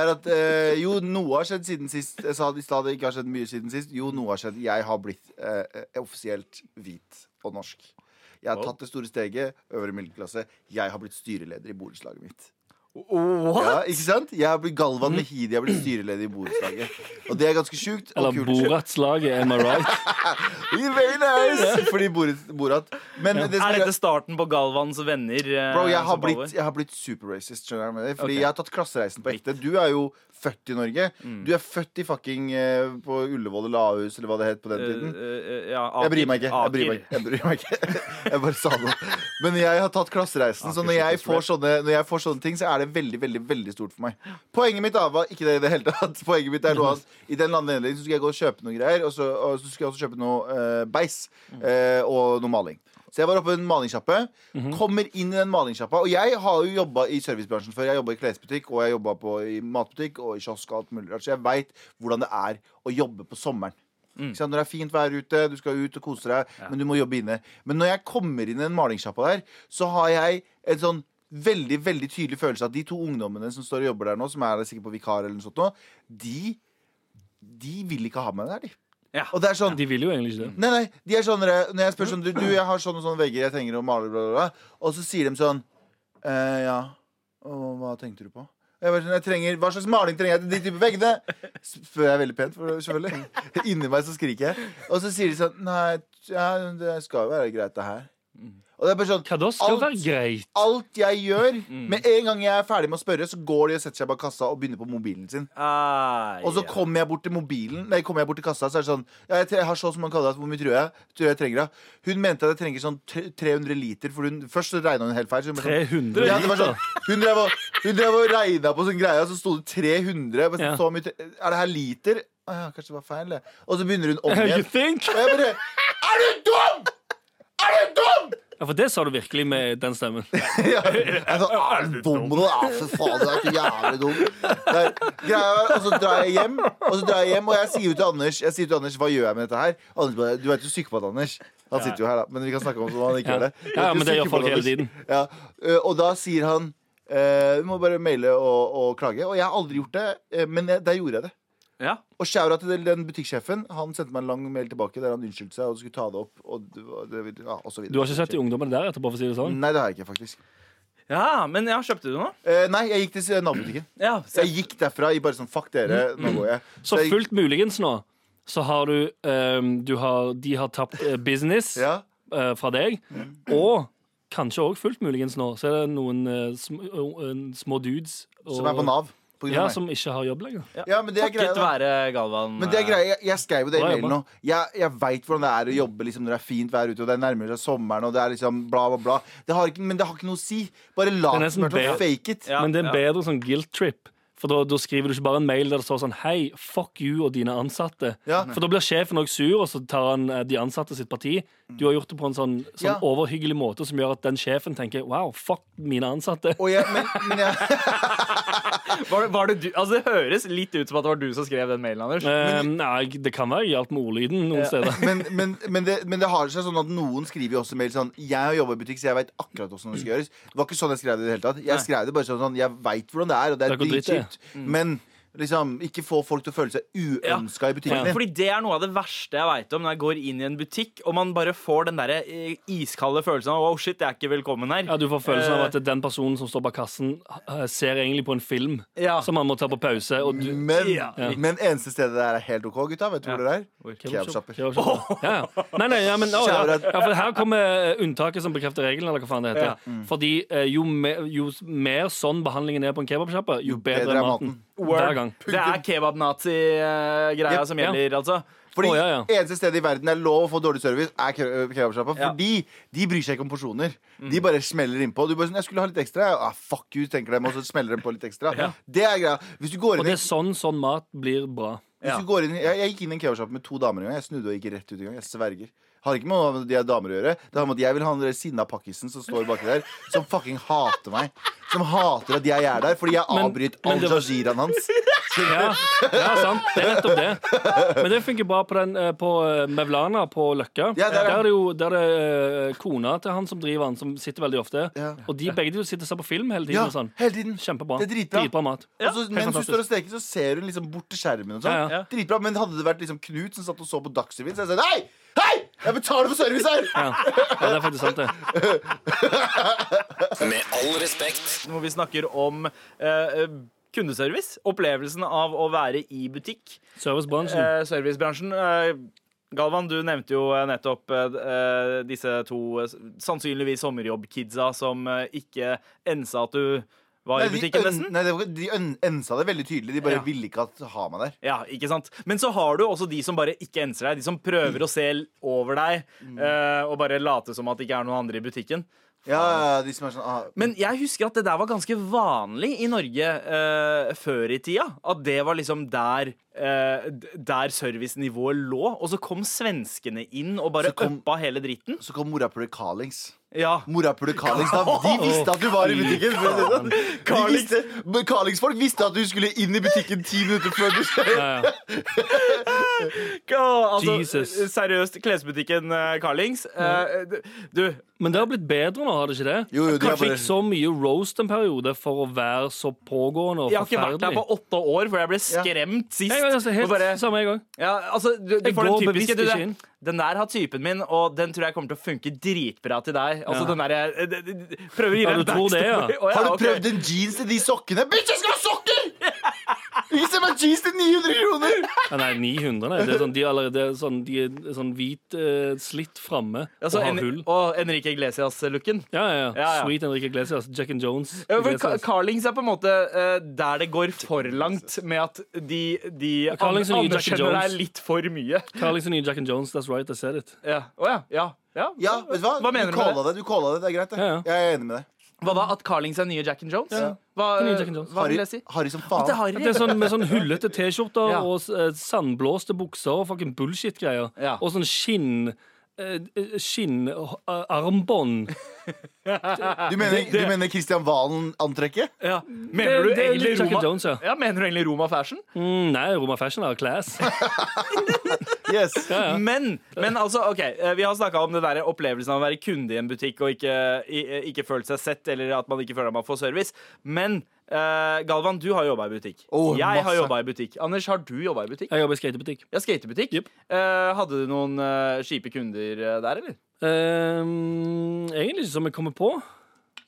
B: er at eh, jo, noe har skjedd siden sist. Jeg sa i stad det ikke har skjedd mye siden sist. Jo, noe har skjedd. Jeg har blitt eh, eh, offisielt hvit og norsk. Jeg har tatt det store steget. Øvre middelklasse. Jeg har blitt styreleder i borettslaget mitt. Ja, ikke sant? Jeg har blitt Galvan Mehidi. Jeg har blitt styreleder i borettslaget. Og det er ganske sjukt. og
E: Eller
B: kult.
E: Boratslaget, am I right?
B: Very nice! Fordi Borat- Borat. Men det som
C: Er
B: er-
C: dette starten på Galvans venner? eh,
B: Bro, jeg har
C: som
B: blitt,
C: baller?
B: jeg har blitt super-racist, skjønner jeg med det. Fordi
C: Ok.
B: jeg har tatt klassereisen på ekte. Du er jo født i Norge.
C: Mm.
B: Du er født i fucking eh, på Ullevål eller Ahus eller hva det het på den tiden.
C: Eh, eh, ja,
B: Jeg bryr
C: Aker-
B: meg ikke. Jeg bryr
C: Aker.
B: meg ikke. Jeg, bryr meg ikke. jeg bare sa noe. Men jeg har tatt klassereisen, så når jeg, får sånne, når jeg får sånne ting, så er det veldig veldig, veldig stort for meg. Poenget mitt da, var ikke det i det hele tatt. Poenget mitt er noe at i den landledningen så skal jeg gå og kjøpe noen greier, og så, og så skal jeg også kjøpe noe eh, beis eh, og noe maling. Så jeg var oppe i en malingssjappe. Kommer inn i den malingssjappa. Og jeg har jo jobba i servicebransjen før. Jeg jobba i klesbutikk og jeg jobba på- i matbutikk og i kiosk og alt mulig rart. Så jeg veit hvordan det er å jobbe på sommeren. Ikke sant? Når det er fint vær ute, du skal ut og kose deg, men du må jobbe inne. Men når jeg kommer inn i den malingssjappa der, så har jeg en sånn veldig veldig tydelig følelse av at de to ungdommene som står og jobber der nå, som er sikkert på vikar eller noe sånt, nå, de, de vil ikke ha meg der, de.
C: Ja.
B: Og det er sånn
E: De vil jo egentlig ikke det.
B: Nei, nei, de er sånn dere, Når jeg spør sånn Du, du jeg har sånne og sånne vegger jeg trenger å male, bla, bla, bla. Og så sier de sånn eh, Ja, og hva tenkte du på? Jeg bare sånn, jeg trenger, hva slags maling trenger jeg til de type veggene? Spør jeg veldig pent, for selvfølgelig. Inni meg så skriker jeg. Og så sier de sånn Nei, ja, det skal jo være greit, det her. Og det er bare sånn
E: Hva da? Skal
B: alt-
E: være Mm. greit.
B: Alt jeg gjør, med en gang jeg er ferdig med å spørre, så går de og setter seg bak kassa og begynner på mobilen sin.
C: Ah,
B: Og så
C: ja.
B: kommer jeg bort til mobilen Nei, kommer jeg bort til kassa, så er det sånn ja, jeg, tre- jeg har så som man kaller det, hvor mye tror jeg, tror jeg trenger da? Hun mente at jeg trenger sånn tre- 300 liter, for hun, først så regna hun helt feil. Så hun bare sånn,
E: 300
B: ja, det var sånn, hun drev og, hun drev og regna på sånn greie, og så sto det 300. Jeg bare, sånn,
E: Ja.
B: så mye, tre- er det her liter? Å ja, kanskje det var feil, det. Og så begynner hun om
E: You
B: igjen.
E: think?
B: Og jeg bare Er du dum?! Er du dum?!
E: Ja, for det sa du virkelig med den stemmen.
B: Ja. Jeg sa, er sånn, "Ah, du dum, bro? Ja, for faen, du er så jævlig dum. Det er- greia er, og så drar jeg hjem, og så drar jeg hjem, og jeg sier jo til Anders, jeg sier til Anders hva gjør jeg med dette her? Anders, bare, du vet jo psykopat, Anders. Han sitter jo her, da, men vi kan snakke om som han ikke
E: Ja.
B: gjør det.
E: Ja, ja, men det gjør
B: Psykopat,
E: folk hele
B: Anders.
E: tiden.
B: Ja. ø, Og da sier han eh, du må bare maile og, og klage. Og jeg har aldri gjort det, eh, men jeg- der gjorde jeg det.
C: Ja.
B: Og skjæra til den butikksjefen. Han sendte meg en lang mail tilbake der han unnskyldte seg og skulle ta det opp. Og, det var- det, ja, og så videre.
E: Du har ikke sett de ungdommene der etterpå, for å si det sånn?
B: Nei, det har jeg ikke, faktisk.
C: ja, men ja, kjøpte du noe?
B: Eh, nei, jeg gikk til nabobutikken.
C: Ja,
B: Så jeg gikk derfra i bare sånn Fuck dere, nå går jeg.
E: Mm, Så
B: jeg,
E: fullt muligens nå, så har du, ehm, du har, De har tapt eh, business
B: ja. Mm.
E: eh, fra deg, og kanskje òg fullt muligens nå, så er det noen eh, sm eh, små dudes og,
B: Som er på Nav. liksom, På grunn
E: Ja,
B: av meg.
E: som ikke har jobb lenger.
B: ja, men det er greia.
C: Takket
B: da.
C: være Galvan.
B: Men det er greia, jeg, jeg skrev jo det i
E: Bra
B: mailen nå.
E: jobba.
B: Jeg, jeg veit hvordan det er å jobbe liksom, når det er fint vær ute, og det er nærmer seg sommeren, og det er liksom bla, bla, bla. Det har ikke, men det har ikke noe å si. Bare
E: Det er
B: lat
E: nesten
B: som om
E: bedre.
B: fake it.
C: Ja,
E: Men det er
C: ja.
E: bedre sånn guilt trip. For da, da skriver du ikke bare en mail der det står sånn Hei, fuck you og dine ansatte.
B: Ja.
E: For da blir sjefen òg sur, og så tar han eh, de ansatte sitt parti. Du har gjort det på en sånn, sånn
B: Ja.
E: overhyggelig måte som gjør at den sjefen tenker Wow, fuck mine ansatte.
B: Og jeg, men, men jeg,
C: Var, det- var det, du, altså det høres litt ut som at det var du som skrev den mailen, Anders.
E: Eh, nei, det kan være jeg hjalp med ordlyden noen steder.
B: men, men, men, det, men det har seg sånn at noen skriver jo også mail sånn Jeg har jobba i butikk, så jeg veit akkurat hvordan det skal gjøres. Det var ikke sånn jeg skrev det i det hele tatt. Jeg skrev det bare sånn, sånn Jeg veit hvordan det er, og det er
E: Det Mm. er ikke dritt,
B: dritkjipt. Men liksom, ikke få folk til å føle seg uønska i
E: Ja,
B: butikken din.
C: Fordi det er noe av det verste jeg veit om når jeg går inn i en butikk og man bare får den der eh, iskalde følelsen av oh shit, jeg er ikke velkommen her.
E: Ja, Du får følelsen av
C: Eh.
E: at den personen som står bak kassen, eh, ser egentlig på en film
C: Ja.
E: som han må ta på pause. Og du
B: Men,
C: Ja.
B: men eneste stedet der er helt OK, gutta. Vet du hvor det er?
C: Hvor?
B: Kebabsjapper.
E: Kebabshopper. Ja, ja. Nei, nei, ja, men, å, ja.
B: Shout out.
E: ja, for her kommer eh, unntaket som bekrefter regelen, eller hva faen det heter.
B: Mm.
E: Fordi eh, jo, me, jo mer sånn behandlingen er på en kebabsjappe, jo bedre er maten. Hver gang.
C: Det er kebabnazi-greia
B: Yep.
C: som gjelder, altså.
B: Fordi
E: Å, ja, ja.
B: eneste stedet i verden det er lov å få dårlig service, er ke- kebabsjappa.
C: Ja.
B: Fordi de bryr seg ikke om porsjoner.
E: Mm.
B: De bare smeller innpå. Du bare sånn 'Jeg skulle ha litt ekstra.' Ja, ah, fuck you, tenker de, og så smeller de på litt ekstra. Det er greia. Hvis du går
E: Og
B: inn i
E: det er sånn sånn mat blir bra.
B: hvis du går inn, i- jeg, jeg gikk inn i en kebabsjappe med to damer en gang. Jeg snudde og gikk rett ut en gang. Jeg sverger. Har ikke med noe av de her damer å gjøre. Det har med at Jeg vil ha den der sinna pakkisen som står baki der, som fucking hater meg. Som hater at jeg er der, fordi jeg
E: Men-
B: avbryter
E: men det var-
B: al-jaziraen hans.
E: Ja, ja sant. Det er nettopp det. Men det funker bra på, den, eh, på eh, Mevlana på Løkka.
B: Ja, der, ja.
E: der er det jo der er det eh, kona til han som driver han, som sitter veldig ofte.
B: Ja.
E: Og de begge de sitter og ser på film hele tiden.
B: Ja,
E: og sånn.
B: hele tiden.
E: Kjempebra.
B: Det er dritbra.
E: mat.
B: Og så, mens hun
E: fantastisk.
B: står og steker, så ser hun liksom bort til skjermen. og sånn
E: Ja,
C: ja.
B: Dritbra, Men hadde det vært liksom Knut som satt og så på Dagsrevyen, så hadde jeg sagt hei! Hei! Jeg betaler for service her!
E: Ja. ja, det er faktisk sant, det.
A: Med all respekt.
C: Hvor vi snakker om eh, kundeservice. Opplevelsen av å være i butikk.
E: Servicebransjen.
C: Eh, servicebransjen. eh, Galvan, du nevnte jo eh, nettopp eh, disse to eh, sannsynligvis sommerjobb-kidsa som eh, ikke ensa at du var i
B: Nei, de
C: butikken,
B: øn-
C: nesten.
B: nei, det var- de øn- ensa det veldig tydelig. De bare
C: Ja.
B: ville ikke at, ha meg der.
C: Ja, ikke sant? Men så har du også de som bare ikke enser deg. De som prøver å se l- over deg eh, og bare late som at det ikke er noen andre i butikken.
B: Ja, ja, de som er sånn ah,
C: Men jeg husker at det der var ganske vanlig i Norge eh, før i tida. At det var liksom der, eh, d- der servicenivået lå. Og så kom svenskene inn og bare
B: Så kom-
C: uppa hele dritten.
B: Så kom morapuler Carlings.
C: Ja.
B: Morapuler Carlings. Da, de visste at du var i butikken! for å si det sånn. De
C: Carlings.
B: visste- men Carlings-folk visste at du skulle inn i butikken ti minutter før du
E: Ja, ja.
C: Ja, altså,
E: Jesus.
C: Seriøst, klesbutikken eh, Carlings. eh, d- du,
E: Men det har blitt bedre nå, har det ikke det?
B: Jo, jo, de har
E: Kanskje
B: bare-
E: ikke så mye roast en periode for å være så pågående og
C: jeg har ikke vært der
E: forferdelig.
C: på åtte år, for jeg ble skremt sist.
E: Jeg altså, helt
C: Og bare,
E: samme jeg òg.
C: ja, altså, du, du
E: Jeg
C: får
E: går
C: den typiske
E: bevisst
C: du,
E: ikke
C: den-
E: inn.
C: Den der har typen min, og den tror jeg kommer til å funke dritbra til deg. Altså,
E: Ja.
C: den der, eh, d- d- d- prøver å gi
E: Ja,
C: deg en
E: du tror det, ja.
C: backstory. Å, ja,
B: Har du
C: ok.
B: prøvd en jeans til de sokkene? Bitch, jeg skal ha sokker! Gi meg jeans til 900 kroner!
E: Ja, nei, 900, nei. Det er sånn, de, er allerede, sånn, de er sånn hvit eh, slitt framme
C: altså,
E: og har
C: en,
E: hull.
C: Og Enrique Iglesias-looken.
E: Ja, ja, ja.
C: Ja, ja.
E: Sweet Henrik Iglesias. Jack and Jones.
C: Ja, for Ka-
E: Iglesias.
C: Carlings er på en måte eh, der det går for langt med at de, de an
E: Carlings og Jackie
C: anerkjenner
E: Jones.
C: deg litt for mye.
E: Carlings nye Jack and Jones. That's right, I said it.
C: Ja. Å ja, ja. ja.
B: Ja, vet du hva?
C: Hva mener
B: du
C: du med
B: calla det? Du calla det, det er greit. Det.
E: Ja, ja.
B: Jeg er enig med deg.
C: Hva da? At Carlings er nye Jack and Jones?
E: Ja.
C: Hva,
E: Den nye Jack and Jones.
C: hva vil
B: Harry,
C: jeg si?
B: Harry som
C: At det er
B: faen.
C: Harry.
E: Det er sånn, med sånn hullete T-skjorter
C: Ja.
E: og eh, sandblåste bukser og fucking bullshit-greier.
C: Ja.
E: Og sånn skinn... eh, Skinnarmbånd.
B: Du mener, du mener Christian Valen-antrekket?
C: ja. Mener du
E: Det- det er
C: egentlig
E: litt Jack and
C: Roma
E: Jones, ja.
C: Mener du egentlig Roma fashion?
E: Mm, nei, Roma Fashion er class.
B: Yes.
E: Ja.
C: Men, men altså, ok, eh, vi har snakka om den der opplevelsen av å være kunde i en butikk og ikke, i- eh, ikke føle seg sett, eller at man ikke føler at man får service. Men eh, Galvan, du har jobba i butikk.
B: Åh,
C: jeg har
B: masse.
C: jobba i butikk. Anders, har du jobba i butikk?
E: Jeg jobber i skatebutikk.
C: Ja, skatebutikk.
E: Jep.
C: Eh, hadde du noen eh, kjipe kunder eh, der, eller?
E: Ehm, egentlig ikke som jeg kommer på.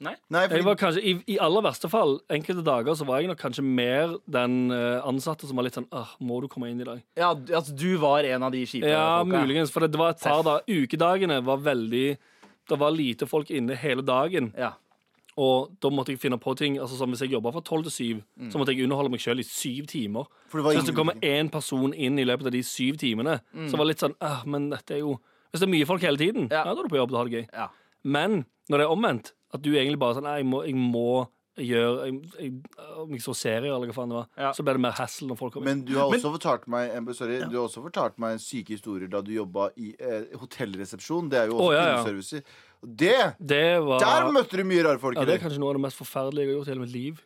B: Nei,
E: Jeg var
B: fordi,
E: kanskje, i, I aller verste fall, enkelte dager, så var jeg nok kanskje mer den eh, ansatte som var litt sånn «Ah, Må du komme inn i dag?
C: Ja, d- altså, du var en av de kjipe
E: Ja,
C: folka.
E: muligens. For det var et par da, ukedagene var veldig Det var lite folk inne hele dagen.
C: Ja.
E: Og da måtte jeg finne på ting. Altså som Hvis jeg jobba fra tolv til syv, så måtte jeg underholde meg sjøl i syv timer.
B: Mm. for det var
E: Så hvis det kommer
B: ingen Mm.
E: én person inn i løpet av de syv timene, så var det litt sånn «Ah, Men dette er jo Hvis det er mye folk hele tiden, ja.
C: Ja.
E: da er du på jobb, da har du det gøy.
C: Ja.
E: Men når det er omvendt, at du egentlig bare sånn Nei, jeg må, jeg må gjøre jeg, jeg, Om jeg så serier, eller hva faen det var,
C: Ja.
E: så blir det mer hassle når folk kommer inn.
B: men du har også fortalt meg eh, Sorry, du har også fortalt meg syke historier da du jobba i eh, hotellresepsjon. Det er jo også
E: Å, ja, ja.
B: kundeservice. Det
E: Det var
B: Der møtte du mye rare folk.
E: ja, det
B: eller?
E: er kanskje noe av det mest forferdelige jeg har gjort i hele mitt liv.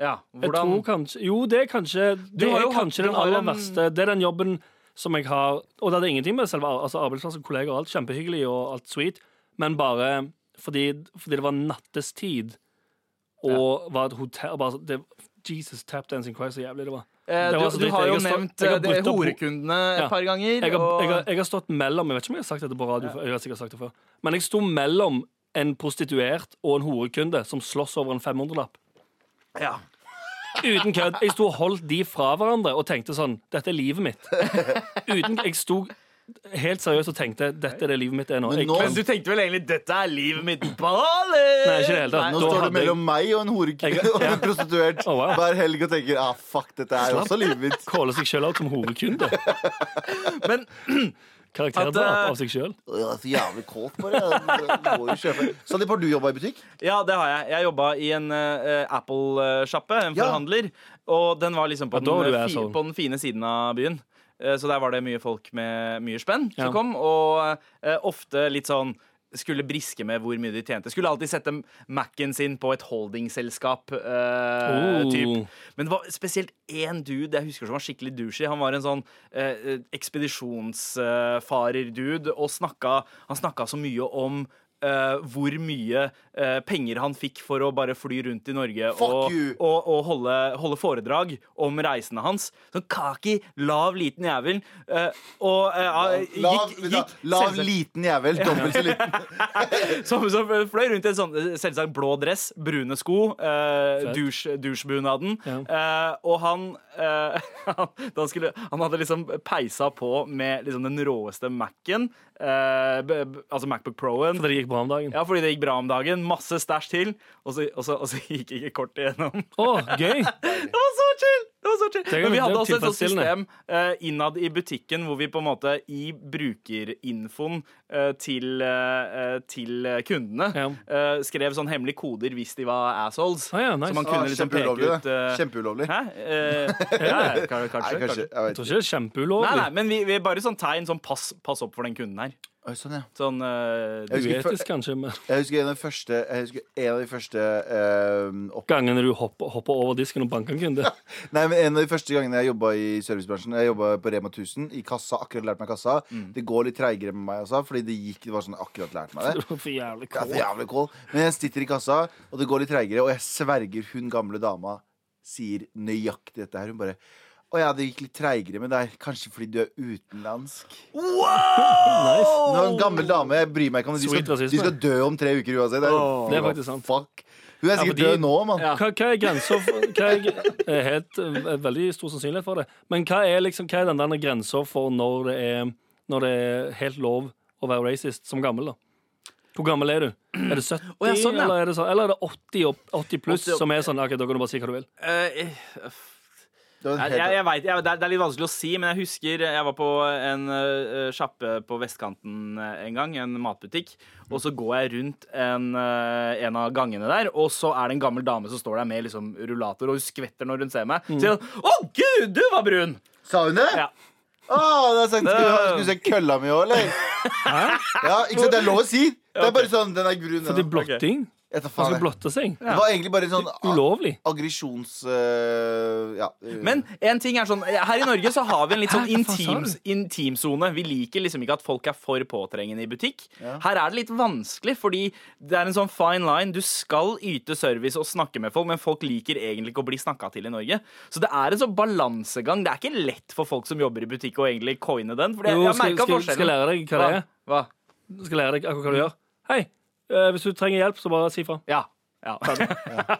C: ja.
E: Jeg
C: Hvordan
E: tror kanskje, jo, det er kanskje Det
C: har
E: er
C: jo hatt-
E: kanskje
C: du
E: den
C: har jo
E: aller
C: en-
E: verste. Det er den jobben som jeg har Og det hadde ingenting med selve ar- altså arbeidsplassen, kolleger og alt. Kjempehyggelig og alt sweet. Men bare fordi, fordi det var nattestid og var et hotell bare, så- det, Jesus, tapdancing Christ, så jævlig det var.
C: Eh,
E: Det
C: du,
E: var så
C: du
E: dritt.
C: har
E: Jeg
C: jo
E: har stå-
C: nevnt
E: jeg har
C: eh, det
E: brutt opp-
C: horekundene
E: Ja.
C: et par ganger.
E: Jeg har,
C: og...
E: jeg, har, jeg har stått mellom Jeg vet ikke om jeg har sagt dette på radio, før, jeg har sikkert sagt det før. Men jeg sto mellom en prostituert og en horekunde som slåss over en 500-lapp.
C: Ja.
E: Uten kødd. Jeg sto og holdt de fra hverandre og tenkte sånn Dette er livet mitt. Uten, jeg sto helt seriøst og tenkte dette er det livet mitt er nå.
B: Men
E: Jeg,
B: nå-
C: Men du tenkte vel egentlig 'dette er livet mitt'? Baller!
E: Nei, ikke i det hele tatt.
B: Nå
E: Da
B: står
E: hadde
B: du mellom meg og en
E: Jeg-
B: horekunde
E: ja.
B: og en prostituert
E: Å, wow.
B: hver helg og tenker ah, fuck, dette er også livet mitt.
E: kåler seg sjøl ut som horekunde.
C: Men At, eh,
E: Karakterdrap av seg sjøl.
B: Å, Jeg er så jævlig kåt på det. Jeg må jo kjøpe. Sandeep, har du jobba i butikk?
C: Ja, det har jeg. Jeg jobba i en eh, Apple-sjappe, en
B: Ja.
C: forhandler. Og den var liksom på,
E: Ja, da var
C: den,
E: du
C: eh, fi,
E: asshole.
C: på den fine siden av byen. Eh, Så der var det mye folk med mye spenn
E: Ja.
C: som kom, og eh, ofte litt sånn skulle briske med hvor mye de tjente. Skulle alltid sette Mac-en sin på et holdingselskap. eh,
E: Oh.
C: typ. Men det var spesielt én dude jeg husker som var skikkelig douchey. Han var en sånn eh, ekspedisjonsfarer-dude, og snakka, han snakka så mye om eh, hvor mye eh, penger han fikk for å bare fly rundt i Norge
B: Fuck
C: og,
B: you!
C: og, og holde, holde foredrag om reisene hans. Sånn kaki, lav, liten jævel. eh, og eh,
B: Lav,
C: gikk, gikk
B: lav
C: selvsagt-
B: liten jævel. Dobbelt så liten.
C: som, som fløy rundt i en sånn eh, selvsagt blå dress, brune sko, eh,
E: Fett.
C: dusj- dusjbunaden. Eh, og han, eh, han, da han, skulle, han hadde liksom peisa på med liksom den råeste Mac-en, eh, b- b- altså Macbook Pro-en.
E: Fordi det gikk bra om dagen.
C: Ja, fordi det gikk bra om dagen. Masse stæsj til. Og så, og, så, og så gikk ikke kortet igjennom.
E: Å, gøy!
C: Det var så chill! Det var så chill.
E: Tenk om
C: Men vi
E: det
C: hadde
E: var
C: også et sånt system
E: tilfredsstillende.
C: eh, innad i butikken hvor vi på en måte i brukerinfoen eh, til, eh, til eh, kundene
E: Ja.
C: eh, skrev sånn hemmelige koder hvis de var assholes.
E: Ah, ja, nice.
C: Så man
B: Ah,
C: kunne liksom peke
B: kjempeulovlig,
C: ut
B: det.
C: eh,
B: Kjempeulovlig.
C: Hæ? Eh, ja, ja, kanskje,
B: Nei,
C: kanskje,
B: kanskje. Jeg
E: Jeg
B: vet.
E: tror ikke det er
C: Nei,
E: kjempeulovlig.
C: nei, men vi, vi er bare sånn tegn sånn pass, pass opp for den kunden her.
B: ikke. Oi, Sånn, ja.
C: Sånn eh,
B: Jeg husker, før-
E: Uetisk, kanskje, men
B: jeg husker en av de første, jeg husker en av de første eh, opp...
E: gangene du hopper, hopper over disken og banker en kunde.
B: Nei, men En av de første gangene jeg jobba i servicebransjen Jeg jobbet på Rema 1000, i kassa. Akkurat lært meg kassa. Det går litt treigere med meg også, fordi det gikk det var sånn akkurat lært meg det.
E: For jævlig
B: Jeg er for
E: kåt.
B: jævlig kål. Men jeg sitter i kassa, og det går litt treigere, og jeg sverger hun gamle dama sier nøyaktig dette her. Hun bare Å ja, det gikk litt treigere med deg. Kanskje fordi du er utenlandsk.
E: Nice.
B: Hun er en gammel dame. Jeg bryr meg ikke om det. De
E: Sweet
B: skal,
E: rasisme.
B: de skal dø om tre uker uansett. Det er,
C: Åh.
E: Det er faktisk sant.
B: Fuck. Hun er sikkert
E: fordi-
B: død nå, mann.
E: Hva, hva er grensa for hva er, eh, Helt eh, veldig stor sannsynlighet for det. Men hva er, liksom, hva er den der grensa for når det, er, når det er helt lov å være racist som gammel, da? Hvor gammel er du? Er det 70,
C: Å, ja, sånn, ja.
E: eller, er det sånn, eller er det 80, opp- 80 pluss,
C: 80 opp-
E: som er sånn OK, da kan du bare si hva du vil?
C: Eh,
B: Det var en
C: Jeg,
B: helt-
C: jeg, jeg vet, jeg, det er- det er litt vanskelig å si, men jeg husker jeg var på en eh, sjappe på vestkanten eh, en gang, en matbutikk, og så går jeg rundt en, eh, en av gangene der, og så er det en gammel dame som står der med liksom, rullator, og hun skvetter når hun ser meg. Så sier hun 'Å, gud, du var brun!'
B: Sa hun det?
C: Ja.
B: Å, det er sant. Skulle, skulle du se kølla mi òg, eller? Ja, ikke sant, Det er lov å si. Det er bare sånn, den er grunn.
E: For det er
B: den.
E: blotting.
B: Jeg tar
E: Man
B: faen,
E: skal
B: jeg.
E: blotte seg.
B: Det var egentlig bare en sånn a-
E: altså Ulovlig.
B: aggresjons... øh, ja. øh,
C: Men en ting er sånn, her i Norge så har vi en litt sånn
E: Hæ, hva faen
C: intims,
E: sa
C: intimsone. Vi liker liksom ikke at folk er for påtrengende i butikk. Her er det litt vanskelig, fordi det er en sånn fine line. Du skal yte service og snakke med folk, men folk liker egentlig ikke å bli snakka til i Norge. Så det er en sånn balansegang. Det er ikke lett for folk som jobber i butikk å egentlig coine den. For jeg,
E: Jo,
C: jeg har
E: skal,
C: merket
E: skal,
C: forskjellen.
E: skal lære deg hva det er.
C: Hva? Hva?
E: Skal lære deg akkurat hva du gjør. Hei, eh, hvis du trenger hjelp, så bare si fra.
C: Ja. ja.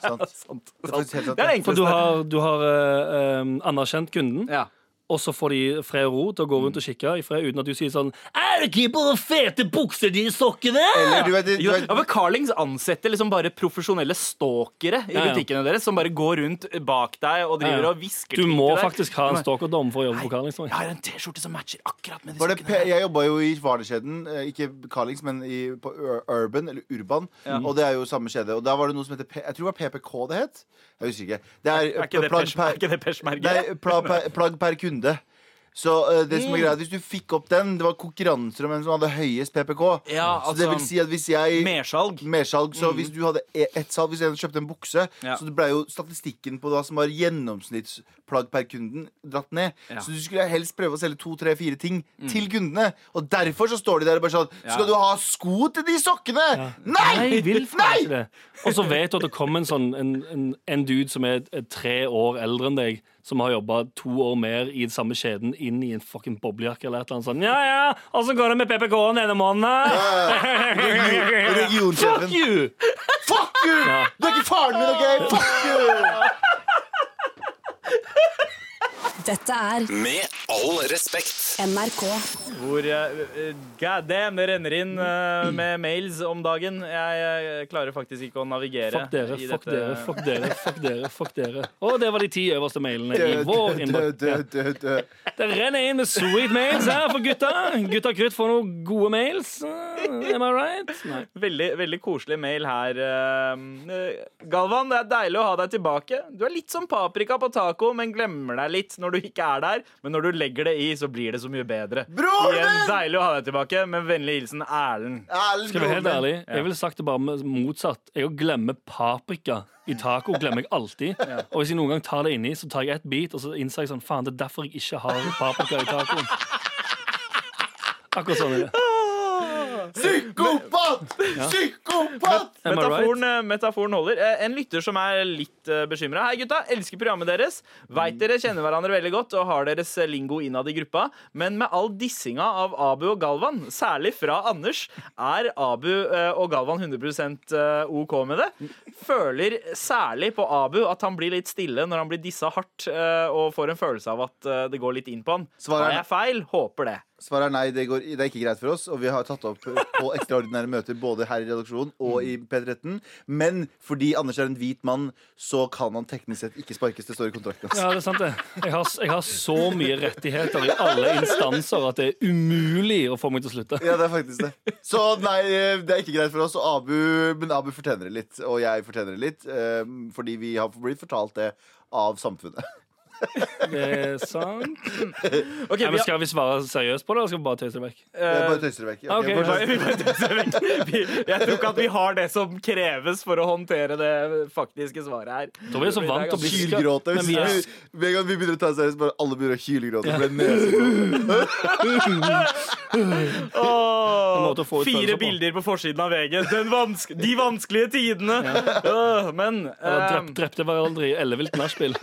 B: sant.
C: Sant.
B: er faktisk helt sant,
C: Det er det
B: ja.
E: For du
C: enkleste.
E: har, du har eh, eh, anerkjent kunden.
C: Ja.
E: Og så får de fred og ro til å gå rundt og kikke i fred uten at du sier sånn Er det ikke bare fete bukser de sokkene?
B: Eller du vet, du
C: Ja,
B: vet
C: men Carlings ansetter liksom bare profesjonelle stalkere i
E: Ja, ja.
C: butikkene deres, som bare går rundt bak deg og
E: Ja,
C: driver
E: ja.
C: og hvisker
E: Du må
C: til deg.
E: faktisk ha en stalkerdom for å jobbe på
C: Jeg
E: Karlingstad.
C: har en T-skjorte som matcher akkurat med de
B: var det
C: sokkene.
B: pe jeg jobba jo i varekjeden, eh, ikke Carlings, men i, på Ur- Urban, eller Urban. Og det er jo samme kjede. Og da var det noe som heter P Jeg tror det var PPK det het. Jeg husker ikke. Det er,
C: Er ikke det
B: plagg
C: pers-
B: per-
C: er ikke det Mm. persmerket?
B: Nei, pla, per, plagg per kunde. Så eh, det som er greia, hvis du fikk opp den Det var konkurranser om hvem som hadde høyest PPK.
C: Ja,
B: så det
C: altså,
B: vil si at hvis jeg
C: Mersalg.
B: Mersalg.
E: Mm.
B: Så hvis du hadde e- ett salg, hvis en kjøpte en bukse,
C: Ja.
B: så det ble jo statistikken på hva som var gjennomsnittsplagg per kunden, dratt ned.
C: Ja.
B: Så du skulle helst prøve å selge to, tre, fire ting
E: Mm.
B: til kundene. Og derfor så står de der og bare sånn
C: Ja.
B: Skal du ha sko til de sokkene? Nei!
E: Nei, jeg vil faen
B: Nei!
E: ikke det. Og så vet du at det kom en sånn en, en, en dude som er eh, tre år eldre enn deg, som har jobba to år mer i den samme kjeden, inn i en fucking boblejakke eller et eller annet sånn Ja ja, åssen går det med PPK-en denne måneden?
B: Regionsjefen.
E: Fuck you!
B: Fuck you! Du er ikke faren min, OK? Fuck you!
D: Dette er
A: Med all respekt.
D: NRK.
C: Hvor eh, eh, God damn, det renner inn eh, med mails om dagen. Jeg eh, klarer faktisk ikke å navigere
E: Fuck dere,
C: i
E: fuck
C: dette.
E: dere, fuck dere, fuck dere. fuck dere Og det var de ti øverste mailene i
B: Død,
E: vår innboks.
B: død, død, død, død.
E: Det renner inn med sweet mails her for gutta. Gutta Krutt får noen gode mails. Eh, Am I right? Nei.
C: Veldig, veldig koselig mail her. eh, Galvan, det er deilig å ha deg tilbake. Du er litt som paprika på taco, men glemmer deg litt når du ikke er der. Men når du legger det i, så blir det så mye bedre.
B: Broren
C: Igjen,
B: min!
C: Deilig å ha deg tilbake, med vennlig hilsen Erlend.
B: Erlend
E: Skal jeg være helt
B: Broman.
E: ærlig, jeg ville sagt det bare med motsatt. Jeg glemmer paprika i taco. glemmer jeg alltid Og hvis jeg noen gang tar det inni, så tar jeg ett bit, og så innser jeg sånn Faen, det er derfor jeg ikke har paprika i tacoen. Akkurat sånn er det.
B: Psykopat! Psykopat!
E: Am I right?
C: Metaforen, metaforen holder. Eh, En lytter som er litt bekymra. Hei, gutta. Elsker programmet deres. Veit dere kjenner hverandre veldig godt og har deres eh, lingo innad i gruppa. Men med all dissinga av Abu og Galvan, særlig fra Anders, er Abu eh, og Galvan 100 eh, OK med det. Føler særlig på Abu at han blir litt stille når han blir dissa hardt, eh, og får en følelse av at eh, det går litt inn på han.
B: Svarer-
C: Har jeg feil? Håper det.
B: Svaret er nei, det, går, det er ikke greit for oss. Og vi har tatt det opp på ekstraordinære møter både her i redaksjonen og i P13. Men fordi Anders er en hvit mann, så kan han teknisk sett ikke sparkes. Det står i kontrakten hans.
E: Ja, det er sant det. Jeg har, jeg har så mye rettigheter i alle instanser at det er umulig å få meg til å slutte.
B: Ja, det er faktisk det. Så nei, det er ikke greit for oss. Og Abu, men Abu fortjener det litt. Og jeg fortjener det litt. eh, Fordi vi har blitt fortalt det av samfunnet.
E: Det er sant.
C: Ok,
E: Nei,
C: vi
E: men
C: har-
E: skal vi svare seriøst på det, eller skal vi bare tøyse det vekk?
B: Jeg bare tøyser det vekk.
E: Eh, ok,
B: bare sånn tøyser det
C: Vi bare tøyser vekk. Vi- Jeg tror ikke at vi har det som kreves for å håndtere det faktiske svaret her.
E: Da blir jeg så vant til å bli
B: Hylgråte. Hvis
E: Men vi er,
B: vi, med en gang vi begynner å ta det seriøst, bare alle begynner å hylgråte. for det er nesebor.
C: Åh,
E: En måte å få ut
C: Fire
E: følelser på.
C: bilder på forsiden av VG. Den vanske, de vanskelige tidene! Øh, men
E: eller
C: eh,
E: drep, drepte hverandre i ellevilt nachspiel.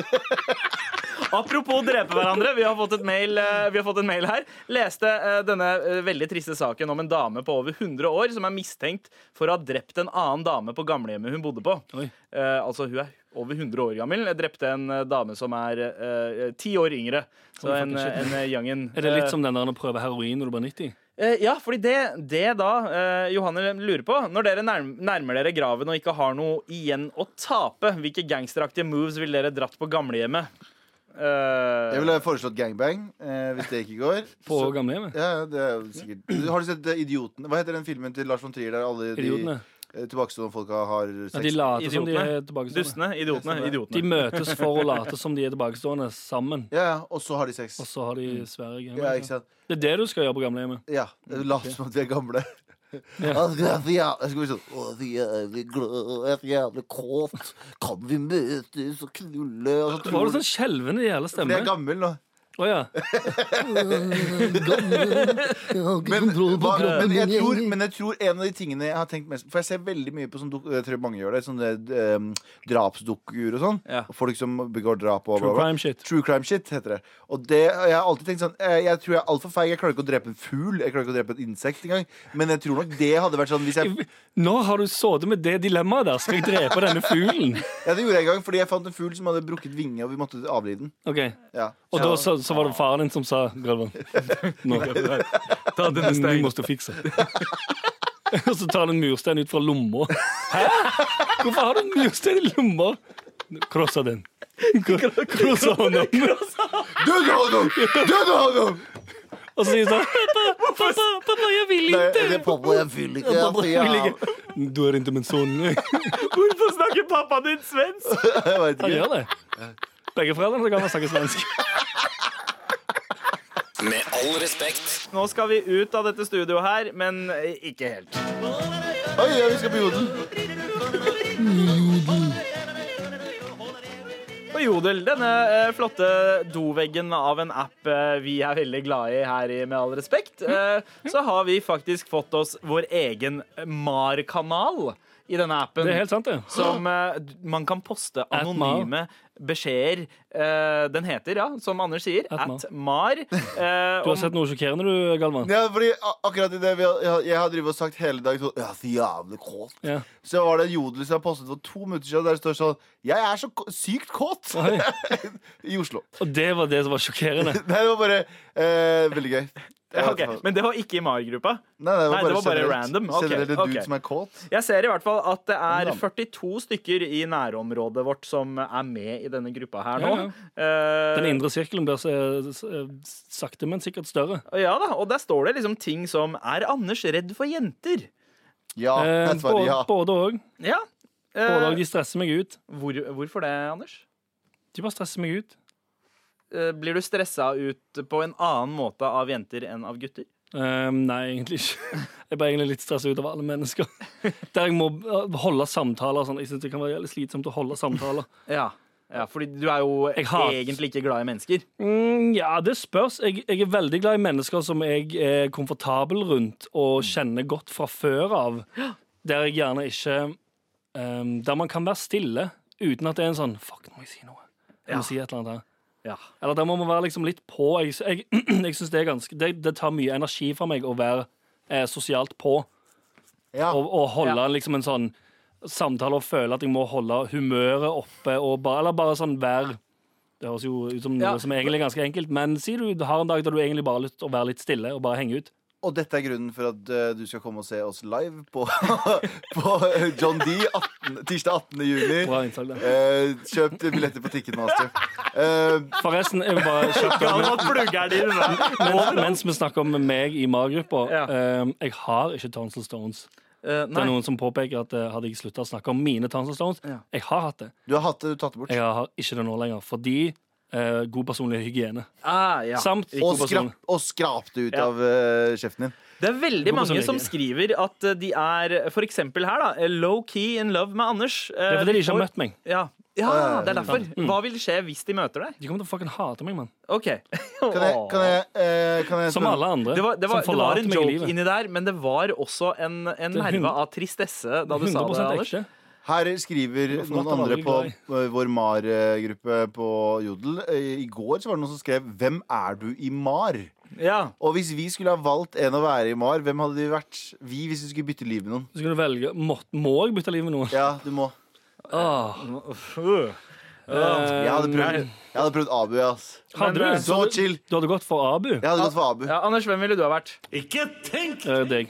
C: Apropos drepe hverandre. Vi har fått, et mail, eh, vi har fått en mail her. Leste eh, denne eh, veldig triste saken om en dame på over 100 år som er mistenkt for å ha drept en annen dame på gamlehjemmet hun bodde på.
E: Oi.
C: Eh, altså, hun er over 100 år gammel. Jeg drepte en eh, dame som er eh, ti år yngre. Så en, eh, en eh, young'en.
E: Er det
C: Eh,
E: litt som den der å prøve heroin når du blir 90?
C: Eh, ja, fordi det, det da eh, Johanne lurer på Når dere nærm nærmer dere graven og ikke har noe igjen å tape, hvilke gangsteraktige moves ville dere dratt på gamlehjemmet? Eh,
B: Jeg ville foreslått gangbang, eh, hvis det ikke går.
E: På
B: Så-
E: gamlehjemmet?
B: ja, det er jo sikkert Du- Har du sett eh, Idiotene? Hva heter den filmen til Lars von Trier der alle de
E: Idiotene.
B: eh, tilbakestående folka har sex?
E: Ja, de later som de
C: Idiotene.
E: er tilbakestående.
C: Dustene. Idiotene.
B: Jeg ser det.
E: De
C: idiotene.
E: møtes for å late som de er tilbakestående sammen.
B: ja, ja, og så har de sex.
E: Og så har de svære
B: Ja, ikke
E: gamer.
B: sant?
E: Det er det du skal gjøre på gamlehjemmet.
B: Ja, Lat som at vi er gamle.
E: Ja.
B: Altså, ja, Jeg skulle bli sånn Å, vi er jævlig glad, jeg er så jævlig kåt. Kan vi møtes og knulle? Og så
E: Du har
B: tror
E: jo sånn skjelvende jævla
B: Fordi jeg
E: stemme.
B: er gammel nå.
E: Å ja.
B: Men, hva, men, jeg tror, men jeg tror en av de tingene jeg har tenkt mest For jeg ser veldig mye på sånn dok- Jeg tror mange gjør det. Sånne um, drapsdukkuer og sånn.
C: Ja.
B: Folk som begår drap og
E: True crime shit.
B: True crime shit heter det. Og det, jeg har alltid tenkt sånn eh, Jeg tror jeg er altfor feig. Jeg klarer ikke å drepe en fugl. Jeg klarer ikke å drepe et insekt engang. Men jeg tror nok det hadde vært sånn hvis jeg
E: Nå har du sittet med det dilemmaet der. Skal jeg drepe denne fuglen?
B: Ja, det gjorde jeg en gang fordi jeg fant en fugl som hadde brukket vinge, og vi måtte avlive den.
E: Ok,
B: Ja.
E: Og da så, så var det faren din som sa Galvan, nå,
C: Ta denne
E: nå
C: steinen.
E: må du fikse. Og så tar han en murstein ut fra lomma. Hæ? Hvorfor har du en murstein i lomma? Krossa den. Krossa hånda.
B: Dødhagen! Dødhagen!
E: Og så sier han sånn Pappa, pappa, pappa, jeg vil
B: Nei,
E: ikke.
B: det er pappa, jeg vil ikke.
E: Pappa,
B: altså,
E: jeg vil
B: ja.
E: ikke. Du er ikke min sønn.
C: Hvorfor snakker pappaen din svensk?
B: Jeg vet
E: Han
B: ikke.
E: gjør det. Begge foreldrene kan snakke svensk.
A: Med all respekt.
C: Nå skal vi ut av dette studioet her, men eh, ikke helt.
B: Oi, ja, vi skal på Jodel.
C: På Jodel, denne eh, flotte doveggen av en app eh, vi er veldig glad i her i Med all respekt, eh, så har vi faktisk fått oss vår egen MAR-kanal i denne appen.
E: Det er helt sant, det.
C: Som eh, d- man kan poste
E: At
C: anonyme beskjeder. Eh, den heter, ja, som Anders sier,
E: At
C: at mar. Eh,
E: Du har
C: om-
E: sett noe sjokkerende, du, Galvan?
B: Ja, fordi a- akkurat i det vi, har- jeg, har- jeg har drivet og sagt hele dagen sånn, Jeg er så jævlig kåt.
E: Ja.
B: Så var det en jodel som jeg postet for to minutter siden, der det står sånn Jeg er så k- sykt kåt! I Oslo.
E: Og det var det som var sjokkerende.
B: Nei, det var bare eh, veldig gøy.
C: Ja, ok, Men det var ikke i MAR-gruppa?
B: Nei, det var
C: Nei,
B: bare,
C: det var bare
B: generelt,
C: random. Ok,
B: generelt en dude
C: ok.
B: som er kåt.
C: Jeg ser i hvert fall at det er
B: Ja.
C: 42 stykker i nærområdet vårt som er med i denne gruppa her nå.
E: Ja,
C: Eh,
E: Den indre sirkelen blir så- så- sakte, men sikkert større.
C: Ja da, og der står det liksom ting som Er Anders redd for jenter?
B: Ja,
E: Eh,
B: jeg svarer ja.
E: både- Både òg.
C: Ja. Eh,
E: Både og, De stresser meg ut.
C: hvor, hvorfor det, Anders?
E: De bare stresser meg ut.
C: Eh, Blir du stressa ut på en annen måte av jenter enn av gutter?
E: Eh, nei, egentlig ikke. Jeg blir egentlig litt stressa ut av alle mennesker. Der jeg må eh, holde samtaler og sånn. Jeg synes det kan være jævlig slitsomt å holde samtaler.
C: Ja, ja fordi du er jo
E: Jeg hat-
C: egentlig ikke glad i mennesker.
E: Mm, ja, det spørs. Jeg, jeg er veldig glad i mennesker som jeg er komfortabel rundt og kjenner godt fra før av. Der jeg gjerne ikke um, Der man kan være stille uten at det er en sånn Fuck, nå må jeg si noe. Jeg
C: Ja.
E: må si et eller annet her.
C: Ja.
E: Eller der må man være liksom litt på. Jeg, jeg, jeg synes det er ganske det, det tar mye energi fra meg å være eh, sosialt på
B: ja.
E: og, og holde
C: Ja.
E: liksom en sånn samtale og føle at jeg må holde humøret oppe og bare, eller bare sånn være Det høres jo ut som noe
C: Ja.
E: som er egentlig er ganske enkelt, men si du har en dag der du egentlig bare har lyst til å være litt stille og bare henge ut.
B: Og dette er grunnen for at eh, du skal komme og se oss live på, på eh, John D. 18, tirsdag 18. juni.
E: Bra innsalg, det.
B: Eh, kjøp billetter på Ticketmaster. Eh,
E: Forresten, jeg vil bare kjapt mens, mens vi snakker om meg i MAR-gruppa
C: Ja.
E: eh, Jeg har ikke Tonsel Stones.
C: Eh,
E: Det er
C: nei.
E: noen som påpeker at eh, hadde jeg slutta å snakke om mine Tonsel Stones
C: Ja.
E: Jeg har hatt det.
B: du har hatt det, du har tatt det bort.
E: Jeg har ikke det nå lenger. Fordi eh, god personlig hygiene.
C: Ah, ja.
E: Samt
B: Og,
E: god
B: skrap,
E: personlig
B: og skrap det ut
C: Ja.
B: av eh, kjeften din.
C: Det er veldig
E: Hvorfor
C: mange
E: sånn
C: som
E: ikke?
C: skriver at eh, de er for eksempel her, da. eh, Low-key in love med Anders. Eh,
E: Det er fordi de ikke
C: får-
E: har møtt meg.
C: Ja. ja, det er derfor.
E: Mm.
C: Hva vil skje hvis de møter deg?
E: De kommer til å fucking hate meg, mann.
C: OK.
B: Kan jeg, kan jeg, eh, kan jeg
E: Som
B: spørre-
E: alle andre.
C: Det var, det var, det
E: som
C: var
E: forlater
C: en
E: meg i
C: joke
E: livet.
C: inni der, men det var også en, en
E: er
C: nerve
E: hundre-
C: av tristesse da du sa det.
E: 100
C: Anders
E: ekte.
B: Her skriver
E: Hvorfor
B: noen
E: måtte han
B: andre
E: aldri
B: på
E: glad i?
B: eh, vår MAR-gruppe på Jodel. Eh, I går så var det noen som skrev 'Hvem er du i MAR?'
C: Ja.
B: Og hvis vi skulle ha valgt en å være i MAR, hvem hadde vi vært? Vi, hvis vi skulle bytte liv med noen.
E: Så kan du velge Må, må jeg bytte liv med noen?
B: Ja, du må.
E: Åh.
C: Uh.
B: Jeg hadde prøvd, jeg hadde prøvd Abu, ass.
E: Eh, Hadde du?
C: Men, eh,
E: Så
B: Så
E: du-
B: chill.
E: Du hadde gått for Abu?
B: Jeg hadde gått for Abu.
C: ja, Anders, hvem ville du ha vært?
F: Ikke tenk!
E: Eh, deg.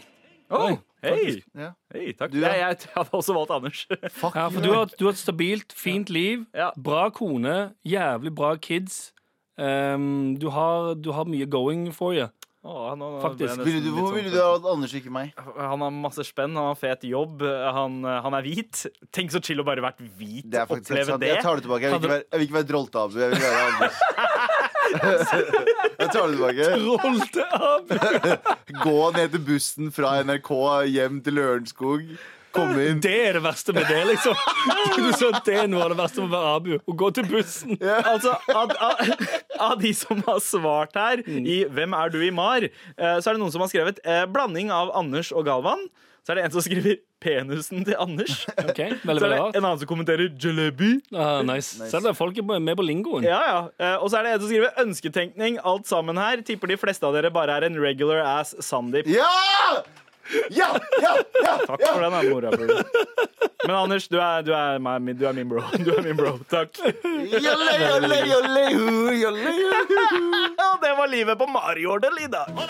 C: Oh, hei.
E: faktisk.
B: Ja.
C: hei, takk.
B: Du, ja.
C: Jeg, jeg, hadde også valgt Anders.
B: Fuck
E: Ja, for
B: you.
E: du har, du har et stabilt, fint liv.
C: Ja.
E: Bra kone. Jævlig bra kids. Ehm, du, har, du har mye going for you.
C: Å, nå- nå ble jeg
E: Faktisk.
C: nesten
B: ville du,
C: litt
B: hvor
C: sånn-
B: ville du ha valgt Anders og ikke meg?
C: Han har masse spenn, han har fet jobb, han, han er hvit. Tenk så chill å bare vært hvit
B: Det er
C: og
B: faktisk helt
C: oppleve
B: sant.
C: det.
B: Jeg tar det tilbake. Jeg vil ikke være, jeg vil ikke være drolte, Abu. Jeg vil være Anders. Jeg tar det tilbake.
E: Rollte Abu!
B: Gå ned til bussen fra NRK hjem til Lørenskog. Kom inn.
E: Det er det verste med det, liksom. Du sa at det er noe av det verste med å være Abu. Å gå til bussen.
C: Altså, av, av, av de som har svart her
B: Mm.
C: i Hvem er du i MAR, eh, så er det noen som har skrevet eh, blanding av Anders og Galvan. Så er det en som skriver penisen til Anders.
E: Ok, veldig,
C: Så er
E: veldig
C: det
E: rart.
C: en annen som kommenterer jalebi.
E: Ah, nice.
B: Nice.
E: Selv om folk er med på lingoen.
C: Ja, ja. Eh, Og så er det en som skriver ønsketenkning. Alt sammen her. Tipper de fleste av dere bare er en regular ass Sandeep.
B: Ja! Ja! Ja! ja!
C: Takk for den, da, mora. bror. Men Anders, du er, du, er meg, du er min bro. Du er min bro. Takk.
B: Jolle, jolle, jolle, hu, jolle, hu.
C: Og det var livet på Mariordel i dag.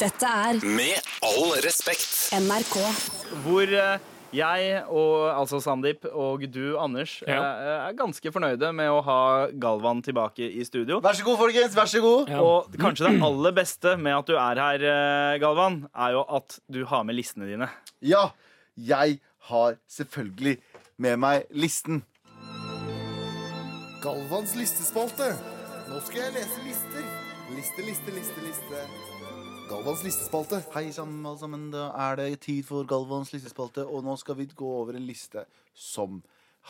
D: Dette er
A: Med all respekt.
D: NRK.
C: Hvor eh, jeg og altså Sandeep og du, Anders, eh, er ganske fornøyde med å ha Galvan tilbake i studio.
B: Vær så god, folkens. Vær så god.
E: Ja.
C: Og kanskje det aller beste med at du er her, eh, Galvan, er jo at du har med listene dine.
B: Ja, jeg har selvfølgelig med meg listen. Galvans listespalte. Nå skal jeg lese lister. Liste, liste, liste, liste. Galvans listespalte. Hei sammen, alle sammen. Da er det tid for Galvans listespalte, og nå skal vi gå over en liste som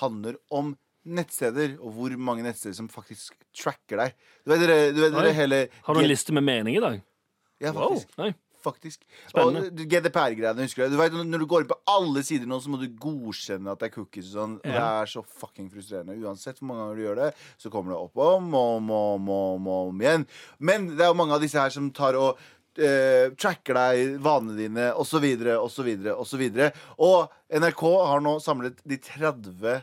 B: handler om nettsteder, og hvor mange nettsteder som faktisk tracker deg. Du vet dere, du vet
E: Oi.
B: dere hele
E: Har du en liste med mening i dag?
B: Ja, faktisk.
E: Nei.
B: Faktisk.
E: Spennende.
B: Og GDPR-greiene, husker du? du vet, når du går inn på alle sider nå, så må du godkjenne at det er cookies og sånn. Det er så fucking frustrerende. Uansett hvor mange ganger du gjør det, så kommer det opp om og om og om, og om, og om igjen. Men det er jo mange av disse her som tar og eh, tracker deg, vanene dine, osv., osv., osv. Og NRK har nå samlet de 30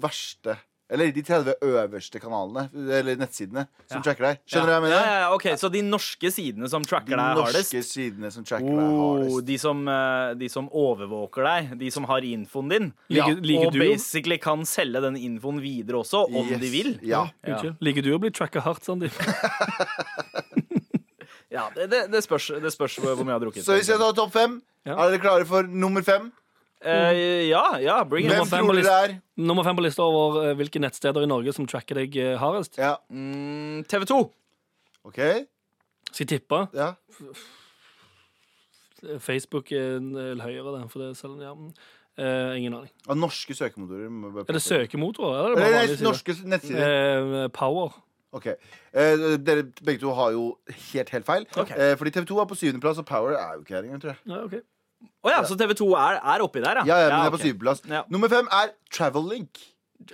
B: verste eller de 30 øverste kanalene, eller nettsidene, som tracker deg. Skjønner du hva jeg mener?
C: Ja, ja, ja, ok, Så de norske sidene som tracker deg
B: De
C: hardest?
B: norske sidene som tracker deg
C: Oh,
B: hardest.
C: de, som, eh, de som overvåker deg, de som har infoen din,
E: Liker- liker
C: og
E: du-
C: basically kan selge den infoen videre også, om
B: Yes.
C: de vil.
B: Ja.
E: Unnskyld. Liker du å bli tracka hardt, Sandeep?
C: Ja, det, det, det, spørs, det spørs hvor mye jeg har drukket.
B: Så hvis jeg tar topp fem,
E: Ja.
B: er dere klare for nummer fem?
C: Eh, ja, ja, bring it
B: Hvem
E: Nummer
C: on.
E: fem
B: tror
E: på
B: dere er?
E: Nummer fem på lista over eh, hvilke nettsteder i Norge som tracker deg eh, hardest.
B: Ja.
C: Mm, TV 2.
B: OK?
E: Skal jeg tippe? Eh,
B: Ja.
E: Facebook er en del høyere, den, for det selger den. Ja. men, eh, ingen aning.
B: Av norske søkemotorer. må vi bare
E: Er det
B: påpeke.
E: søkemotorer? Eller er
B: Eller
E: det bare
B: nei,
E: vanlige sider?
B: norske nettsider.
E: Eh, Power.
B: Ok. Eh, dere begge to har jo helt, helt feil.
C: Ok.
B: Eh, fordi TV2 er på syvendeplass, og Power er jo ikke her engang, tror jeg.
E: Ja, ok.
C: Å ja, så TV 2 er, er oppi der,
B: Ja, ja, men det er
C: ok.
B: på syvendeplass.
C: Ja.
B: Nummer fem er Travellink.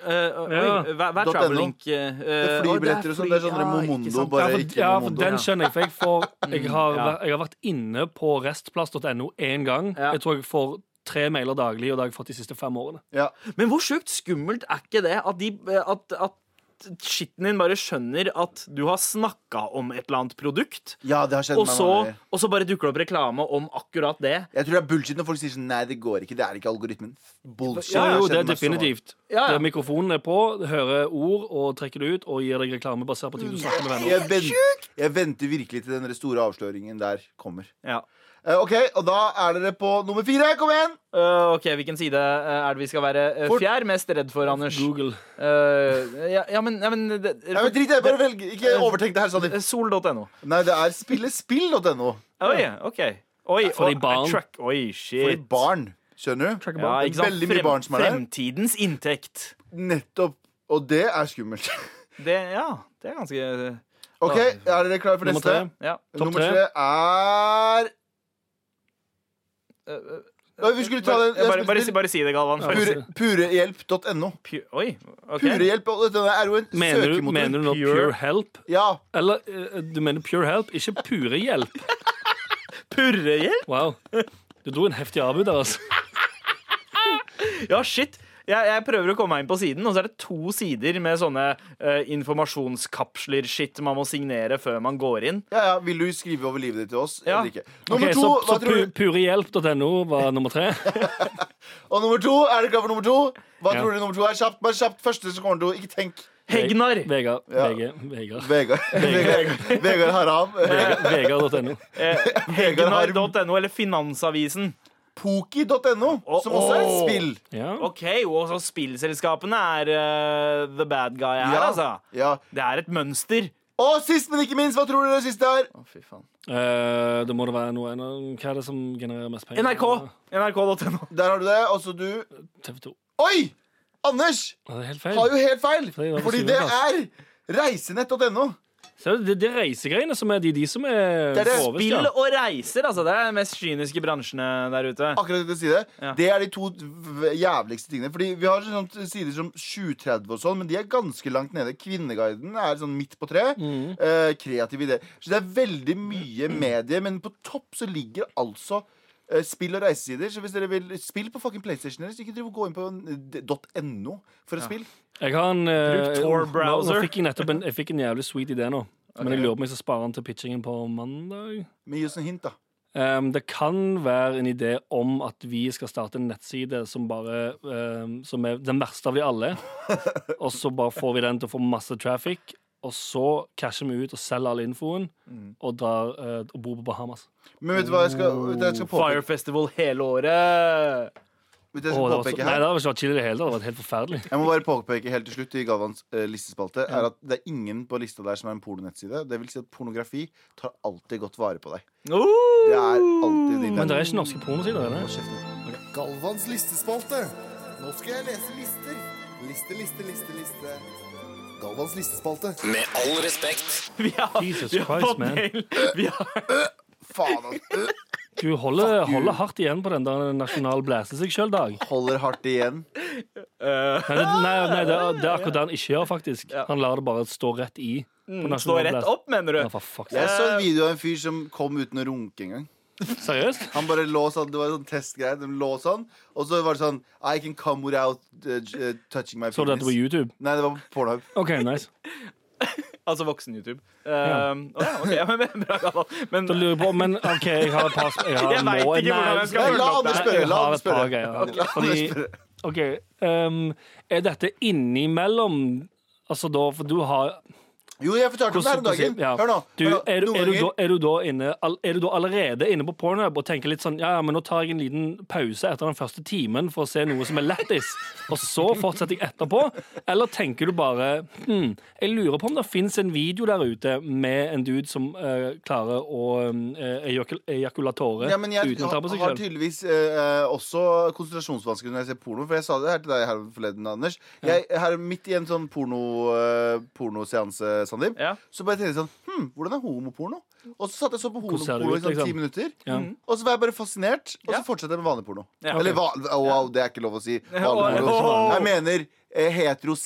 C: Eh, oi,
E: Ja.
C: hva hva er
B: .no.
C: Travelink? eh,
B: Det er
C: eh, å,
B: flybilletter og sånn. Det er sånn dere
C: ja, ikke
B: Momondo,
C: sant.
E: Ja,
B: bare
E: for,
B: ikke
E: ja, for
B: Momondo.
E: den skjønner jeg, for jeg, får, jeg, har,
C: ja.
E: væ- jeg har vært inne på restplass.no én gang.
C: Ja.
E: Jeg tror jeg får tre mailer daglig, og det har jeg fått de siste fem årene.
B: Ja.
C: Men hvor sjukt skummelt er ikke det at, de, at, at skitten din bare skjønner at du har snakka om et eller annet produkt,
B: ja, det har skjedd
C: og
B: meg
C: så,
B: mange ganger.
C: og så bare dukker det opp reklame om akkurat det.
B: Jeg tror det er bullshit når folk sier sånn Nei, det går ikke. Det er ikke algoritmen. Bullshit.
E: Ja, jo,
B: skjedde
E: det er
B: meg så mange-
E: definitivt.
C: Ja, ja.
E: Der mikrofonen er på, hører ord og trekker det ut, og gir deg reklame basert på ting du snakker med venner om.
B: Jeg, vent, jeg venter virkelig til den der store avsløringen der kommer.
C: Ja.
B: Eh, ok, Og da er dere på nummer fire. Kom igjen!
C: Øh, ok, Hvilken side øh, er det vi skal være øh,
B: Fort.
C: fjær mest redd for, Anders?
E: Google.
C: Øh, ja, ja, men, ja, men, det- øh,
B: Nei, men Drit i det. Bare velg. Ikke overtenk det her. Sandeep.
C: Sol.no.
B: Nei, det er spillespill.no.
C: Oi, ok. Oi,
E: For de
C: oi,
E: barn.
C: track- Oi, shit.
B: For barn. Skjønner du?
E: Tracker
C: Ja,
E: bare.
C: ikke sant?
B: Veldig mye
C: Frem-
B: barn som er der.
C: Fremtidens inntekt.
B: Nettopp. Og det er skummelt.
C: Det, ja, det er ganske
B: OK, er dere klare for neste?
E: Nummer tre.
C: Ja.
E: Topp
B: Nummer
E: tre.
B: tre er
E: eh,
B: Oi, Vi skulle ta
C: Bare,
B: den jeg
C: bare, bare, si-
B: spiste-
C: bare si det, Galvan.
B: Pure-
C: først.
B: Purehjelp.no.
C: Pu- Oi, ok.
B: Purehjelp og dette er jo en
E: Mener du,
B: søkemotor.
E: mener du nå
C: Pure-
E: pure, help?
B: Ja.
E: Eller eh, du mener pure help, ikke pure hjelp?
C: Purrehjelp?
E: Wow. Du dro en heftig abu der, altså.
C: Ja, shit. Jeg, jeg prøver å komme meg inn på siden, og så er det to sider med sånne eh, informasjonskapsler-shit man må signere før man går inn.
B: ja, ja, Vil du skrive over livet ditt til oss
C: Ja.
B: eller ikke?
E: Ok,
B: Nummer to,
E: så
B: hva
E: så
B: tror
E: pu,
B: du?
E: purehjelp.no var nummer tre.
B: Og nummer to, er du klar for nummer to? Hva
E: Ja.
B: tror du nummer to er? Kjapt, bare kjapt. Første som kommer til å Ikke tenk.
C: Hegnar!
E: Vegard.
B: Ja.
E: VG, Vegard.
B: Vegard Vegard- Vegard Haram. Eh,
E: Vegard.no.
C: Eh,
B: Vegard Harm.
C: Hegnar.no eller Finansavisen.
B: Poki.no,
C: Å,
B: som også er et
C: å.
B: spill.
E: Ja.
C: OK, og så spillselskapene er eh, the bad guy her, altså.
B: ja.
C: Det er et mønster.
B: Og sist, men ikke minst, hva tror dere det siste er?
C: Å, fy faen.
E: Eh, det må det være noe annet. Hva er det som genererer mest penger?
C: NRK. NRK.no.
B: Der har du det. Altså, du
E: TV 2.
B: Oi! Anders
E: Det er helt feil.
B: har jo helt feil,
E: Fordi det var på
B: fordi
E: syvende
B: det er reisenett.no.
E: Ser du, det, det er reisegreiene som er de, de som er
B: Det er det.
E: grovest, ja.
C: Spill og reiser, altså. Det er de mest kyniske bransjene der ute.
B: Akkurat det jeg sier det.
C: Ja.
B: Det er de to v- jævligste tingene. Fordi vi har sånn sider som 730 og sånn, men de er ganske langt nede. Kvinneguiden er sånn midt på tre.
E: Mm.
B: Eh, kreativ idé. Så det er veldig mye medie, men på topp så ligger altså eh, Spill og reisesider. Så hvis dere vil spill på fucking PlayStation deres, ikke driv og gå inn på en- .no for et spill.
E: Jeg har en eh,
C: Bruk Tor
E: nå-
C: browser.
E: Nå fikk jeg nettopp en, jeg fikk en jævlig sweet idé nå. Men jeg lurer på om jeg skal spare den til pitchingen på mandag.
B: Men gi oss en hint, da.
E: Ehm, det kan være en idé om at vi skal starte en nettside som bare ehm, Som er den verste av de alle. Og så bare får vi den til å få masse traffic. Og så casher vi ut og selger all infoen og drar eh, og bor på Bahamas.
B: Men vet du hva jeg skal, vet du hva jeg skal
C: Fire
B: påpeke,
C: Festival hele året.
B: vet du hva jeg skal
E: Åh, det, var så,
B: påpeke
E: nei,
B: her?
E: det hadde ikke vært chill i det hele tatt. Det hadde vært helt forferdelig.
B: Jeg må bare påpeke helt til slutt i Galvans eh, listespalte Er at det er ingen på lista der som er en pornonettside. Det vil si at pornografi tar alltid godt vare på deg. Det er alltid din
E: Men det er ikke norske pornosider. er det?
B: Galvans listespalte. Nå skal jeg lese lister. Liste, liste, liste, liste. Galvans listespalte.
A: Med all respekt.
C: Vi har,
E: Jesus
C: vi har
E: Christ,
C: fått
E: man.
C: mail. Vi har,
B: Faen, altså.
E: Du holder, holder hardt igjen på den der nasjonal blæse seg sjøl-dag.
B: Holder hardt igjen.
E: Nei, det, nei, nei det, er, det er akkurat det han ikke gjør, faktisk. Han lar det bare stå rett i. på
C: Den
E: nasjonal
C: står rett
E: blæse.
C: opp, mener
E: Ja,
C: du?
E: for fuck.
B: Jeg så en video av en fyr som kom uten å runke engang.
E: Seriøst?
B: Han bare lå sånn, Det var en sånn testgreie. De lå sånn, og så var det sånn I can come without uh, j- uh, touching my penis.
E: Så du dette på YouTube?
B: Nei, det var på Pornhub.
E: OK, nice.
C: Altså voksen-YouTube. Eh, ja, ok, ja, men, bra, Galvan.
E: Da
C: men
E: lurer jeg på, men ok, jeg har et par sp- har-
C: Jeg vet
E: må-
C: ikke hvordan jeg skal
B: Nei,
C: følge
E: Nei,
B: la
C: opp det
B: Anders
C: her.
E: jeg
B: spørre. La
E: har
B: Anders
E: et par
B: spørre.
E: greier.
B: La Anders
E: Fordi,
B: spørre.
E: ok, ehm, er dette innimellom Altså da, for du har
B: Jo, jeg fortalte om det her om dagen.
E: ja.
B: Hør nå.
E: Du,
B: Hør nå.
E: er, du-
B: Noen
E: er, du da,
B: ganger-
E: er du da inne all- Er du da allerede inne på Pornhub og tenker litt sånn Ja, ja, men nå tar jeg en liten pause etter den første timen for å se noe som er lættis, og så fortsetter jeg etterpå? Eller tenker du bare hm, Jeg lurer på om det fins en video der ute med en dude som eh, klarer å eh, ejakul ejakulatore
B: ja, men jeg
E: uten å ta
B: har,
E: på seg
B: har
E: selv?
B: tydeligvis eh, også konsentrasjonsvansker når jeg ser porno. For jeg sa det her til deg her forleden, Anders. Jeg, her Midt i en sånn porno, eh, pornoseanse, Sandeep,
C: Ja.
B: så bare tenkte jeg sånn Hm, hvordan er homoporno? Og så satt jeg så på
E: Hvordan ser det
B: homoporno i
E: ut,
B: sånn
E: liksom?
B: ti minutter.
E: Ja.
B: Og så var jeg bare fascinert, og så
C: Ja.
B: fortsatte jeg med vanlig porno.
C: Ja.
B: Eller va oh, wow, det er ikke lov å si.
C: Å,
B: Vanlig porno.
C: å.
B: Jeg mener eh,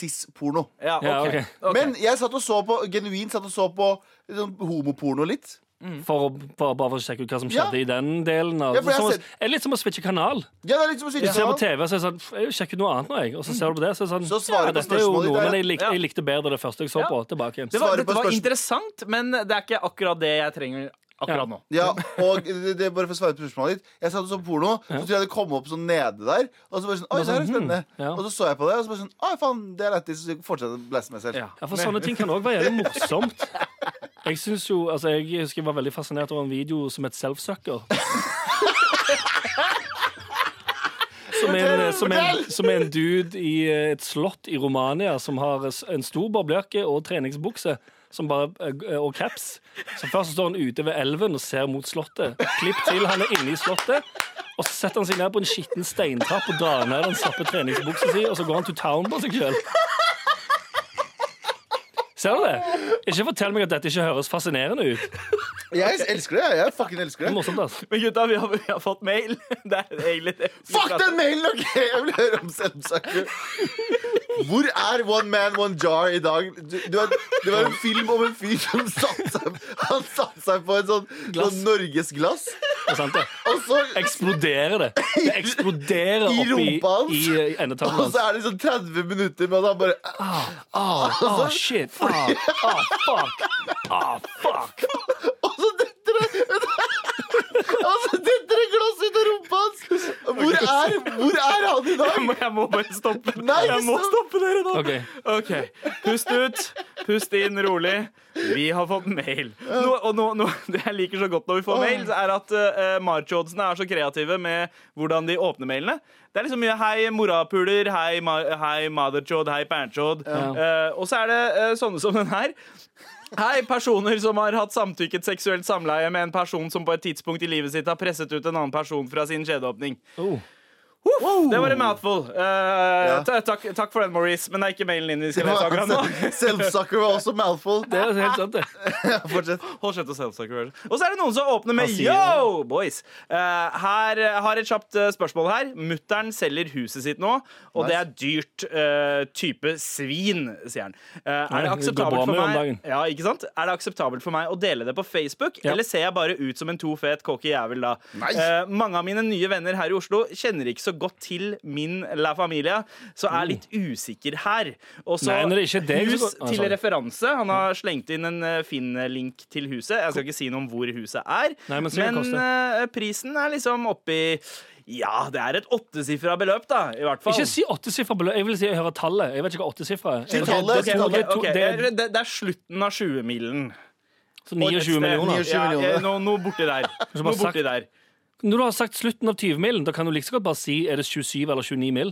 B: hetero-cis-porno.
C: ja, ok.
E: Ja, ok.
C: Ok.
B: Men jeg satt og så på genuint satt og så på sånn, homoporno litt.
E: For å, bare, bare for å sjekke ut hva som
B: mm. Ja.
E: skjedde i den delen. Av,
B: Ja, for jeg
E: som å-
B: ser-
E: er litt som å switche kanal.
B: Ja, det er liksom å
E: Du
B: sitte
E: ser på
B: sånn.
E: TV, så er det sånn "Pff, Jeg sjekker ut noe annet nå, jeg. Og så ser du på det, så er det sånn
B: Så svarer du på
E: dette er jo
B: spørsmålet ditt,
E: noe,
B: ja.
E: Men jeg likte,
C: Ja.
E: jeg likte bedre det første jeg så
C: Ja.
E: på. Tilbake igjen.
C: Det var,
B: Svaret på
C: dette var
B: spørsmål.
C: interessant, men det er ikke akkurat det jeg trenger akkurat nå.
B: Ja, og det, det er bare for å svare på spørsmålet ditt. Jeg satt og så på porno, så tror jeg det kom opp sånn nede der. Og så bare sånn, oi, det her er spennende
E: ja.
B: Og så så jeg på det, og så bare sånn, oi faen, det er lættis. Så fortsatte jeg å blæse meg selv.
C: Ja.
E: Ja, for sånne ting kan òg være jævlig morsomt. Jeg synes jo, altså jeg husker jeg var veldig fascinert over en video som het Selfsucker. Som er, en, som, er en, som er en dude i eh, et slott i Romania som har s- en stor boblejakke og treningsbukse som bare, eh, og caps. Så Først så står han ute ved elven og ser mot slottet. Klipp til, han er inne i slottet. Og så setter han seg ned på en skitten steintrapp og drar ned den slappe treningsbuksa si, og så går han to town på seg sjøl. Ser du det? Ikke fortell meg at dette ikke høres fascinerende ut.
B: Jeg elsker det. Jeg fucking elsker
E: Det
B: det.
E: er morsomt, ass.
C: Men gutta, vi har, vi har fått mail. Det er egentlig det. vi
B: Fuck
C: prater-
B: den mailen! ok Jeg vil høre om selvsaker. Hvor er One Man One Jar i dag? Du, du har- det var en film om en fyr som satte seg, han satt seg på et sånn, sånt, sånt norgesglass.
E: Det er sant, det.
B: Og så,
E: Eksploderer det. Det eksploderer
B: I
E: oppi
B: rumpa hans.
E: i, i endetavlen
B: og
E: hans.
B: så er det sånn 30 minutter med at han bare
E: Ah, ah, shit. Ah, ah, fuck. Ah, fuck.
B: Og så detter det Og så detter det Altså, glass ut av rumpa hans! Hvor er, hvor er han i dag?
C: Jeg må, jeg må bare stoppe.
B: Nei,
C: jeg må
B: stopp.
C: stoppe dere nå.
E: Ok.
C: ok, Pust ut, pust inn rolig. Vi har fått mail. Nå, og nå, nå, det jeg liker så godt når vi får mail, så er at uh, marchoddsene er så kreative med hvordan de åpner mailene. Det er liksom mye 'hei, morapuler', 'hei, ma hei motherchod', 'hei, panchod'. Eh, og så er det eh, sånne som den her. Hei, personer som har hatt samtykket seksuelt samleie med en person som på et tidspunkt i livet sitt har presset ut en annen person fra sin kjedeåpning.
E: Oh.
C: Uff, Det var en mouthful. Eh, ta- takk, takk for den, Maurice, men det er ikke mailen din vi skal lese akkurat nå.
B: Selfsucker altså, var også mouthful.
E: Det er helt sant, det.
B: Fortsett.
C: Hold kjeft og self-sucker. Og så er det noen som åpner med
E: Hva sier
C: Yo, boys! Eh, her eh, har et kjapt eh, spørsmål her. Mutter'n selger huset sitt nå, og det er dyrt eh, type svin, sier han. Eh, er det
E: Nei, det går
C: akseptabelt
E: bra
C: for
E: med om
C: meg
E: dagen.
C: Ja, ikke sant? Er det akseptabelt for meg å dele det på Facebook,
E: Ja.
C: eller ser jeg bare ut som en to fet kåke jævel da?
B: Nei.
C: Eh, mange av mine nye venner her i Oslo kjenner ikke så godt til min La Familia, så er litt usikker her. Og så
E: Mm. Nei, når det ikke er deg, så
C: hus
E: går- Ah,
C: til
E: sorry.
C: referanse. Han har slengt inn en eh, Finn-link til huset. Jeg skal ikke si noe om hvor huset er,
E: Nei, men så kan det
C: eh, prisen er liksom oppi Ja, det er et åttesifra beløp, da, i hvert fall.
E: Ikke si åttesifra beløp. Jeg vil si jeg hører tallet. Jeg vet ikke hva åttesifra er.
B: Si
E: Ok,
B: tallet,
E: det
B: si
E: er to-
B: tallet.
C: Ok,
E: det er to-
C: ok,
E: det
C: Det,
E: er
C: det, det er slutten av 20-milen.
E: så 29 millioner.
B: 29 millioner.
C: Ja, eh, noe, noe borti der.
E: bare
C: Noe borti
E: sagt-
C: der.
E: Når du har sagt slutten av 20-milen, da kan du like så godt bare si er det 27 eller 29 mil.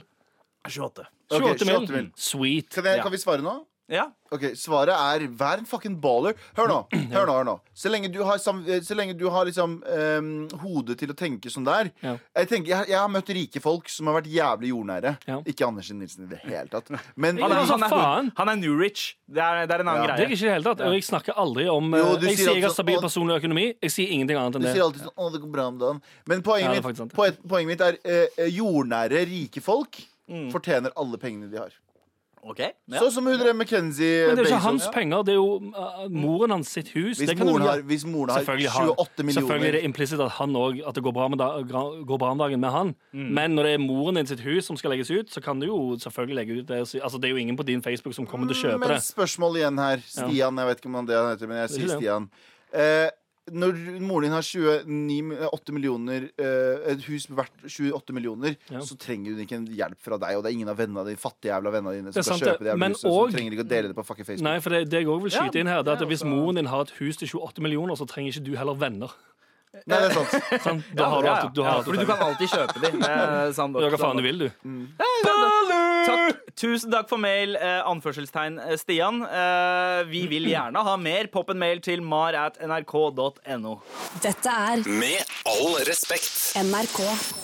C: 28.
E: 28,
B: Ok, 28
E: mil.
B: mil.
E: Sweet.
B: Kan, jeg, kan vi svare nå?
C: Ja.
B: Ok, Svaret er vær en fucking baller. Hør nå. hør nå, hør nå Så lenge du har, sam eh, så lenge du har liksom ehm, hodet til å tenke sånn der
E: Ja.
B: jeg, tenker, jeg, jeg har møtt rike folk som har vært jævlig jordnære.
E: Ja.
B: Ikke Andersen Nilsen i det hele tatt. Men
E: Ja,
C: Han er, sånn han
E: men hva
C: er,
E: faen?
C: han er new rich. Det er, det er en annen
E: Det er
C: greie.
E: ikke i det hele tatt. Og jeg snakker aldri om eh,
B: Jo, du sier
E: Jeg sier jeg har
B: altså-
E: stabil
B: og-
E: personlig økonomi. Jeg sier ingenting annet
B: du
E: enn
B: sier
E: det.
B: alltid sånn 'Å, det går bra om dagen'. Men poenget,
E: Ja, det er faktisk
B: mitt,
E: sant.
B: poe- poenget mitt er eh, eh, jordnære, rike folk
E: Mm.
B: fortjener alle pengene de har.
C: Ok, ja.
B: Sånn som hun der McKenzie
E: Men det
B: Bezos.
E: er jo ikke hans
B: Ja.
E: penger, det er jo eh, moren hans sitt hus.
B: Hvis
E: Det kan du
B: moren
E: gjøre.
B: har, hvis moren har
E: Selvfølgelig, har-
B: 28
E: selvfølgelig er det
B: millioner
E: implisitt at han også, at det går bra, med da, gra- går bra om dagen med han. Men når det er moren din sitt hus som skal legges ut, så kan du jo selvfølgelig legge ut det. og si- Altså, det er jo ingen på din Facebook som kommer til å kjøpe
B: Mm, Men
E: det.
B: spørsmål igjen her. Stian, jeg vet ikke om han det han heter, men jeg
E: Det
B: sier
E: er det.
B: Stian. Eh, når moren din har 29, eh, 8 millioner, eh, et hus verdt 28 millioner,
E: Ja.
B: så trenger hun ikke en hjelp fra deg. Og det er ingen av vennene dine, fattige jævla vennene dine
E: Det er
B: som skal
E: sant det,
B: kjøpe det jævla
E: men
B: huset.
E: og-
B: Så du trenger ikke å dele det på fucking Facebook.
E: Nei, for det, det jeg også vil skyte
C: Ja,
E: inn her, det er at
C: det er
E: hvis
C: også-
E: moren din har et hus til 28 millioner, så trenger ikke du heller venner.
B: Nei, det er sant.
E: Sant? Da har du
C: Ja, ja,
E: alt du
C: ja,
E: har. alt
C: fordi
E: du
C: du
E: trenger.
C: kan alltid kjøpe de. Eh, sant nok,
E: Gjør hva
C: sant nok.
E: faen du vil, du.
C: Takk. Tusen takk for mail, eh, anførselstegn eh, Stian. Eh, vi vil gjerne ha mer. Popp en mail til mar at nrk.no.
D: Dette er
A: Med all respekt.
D: NRK.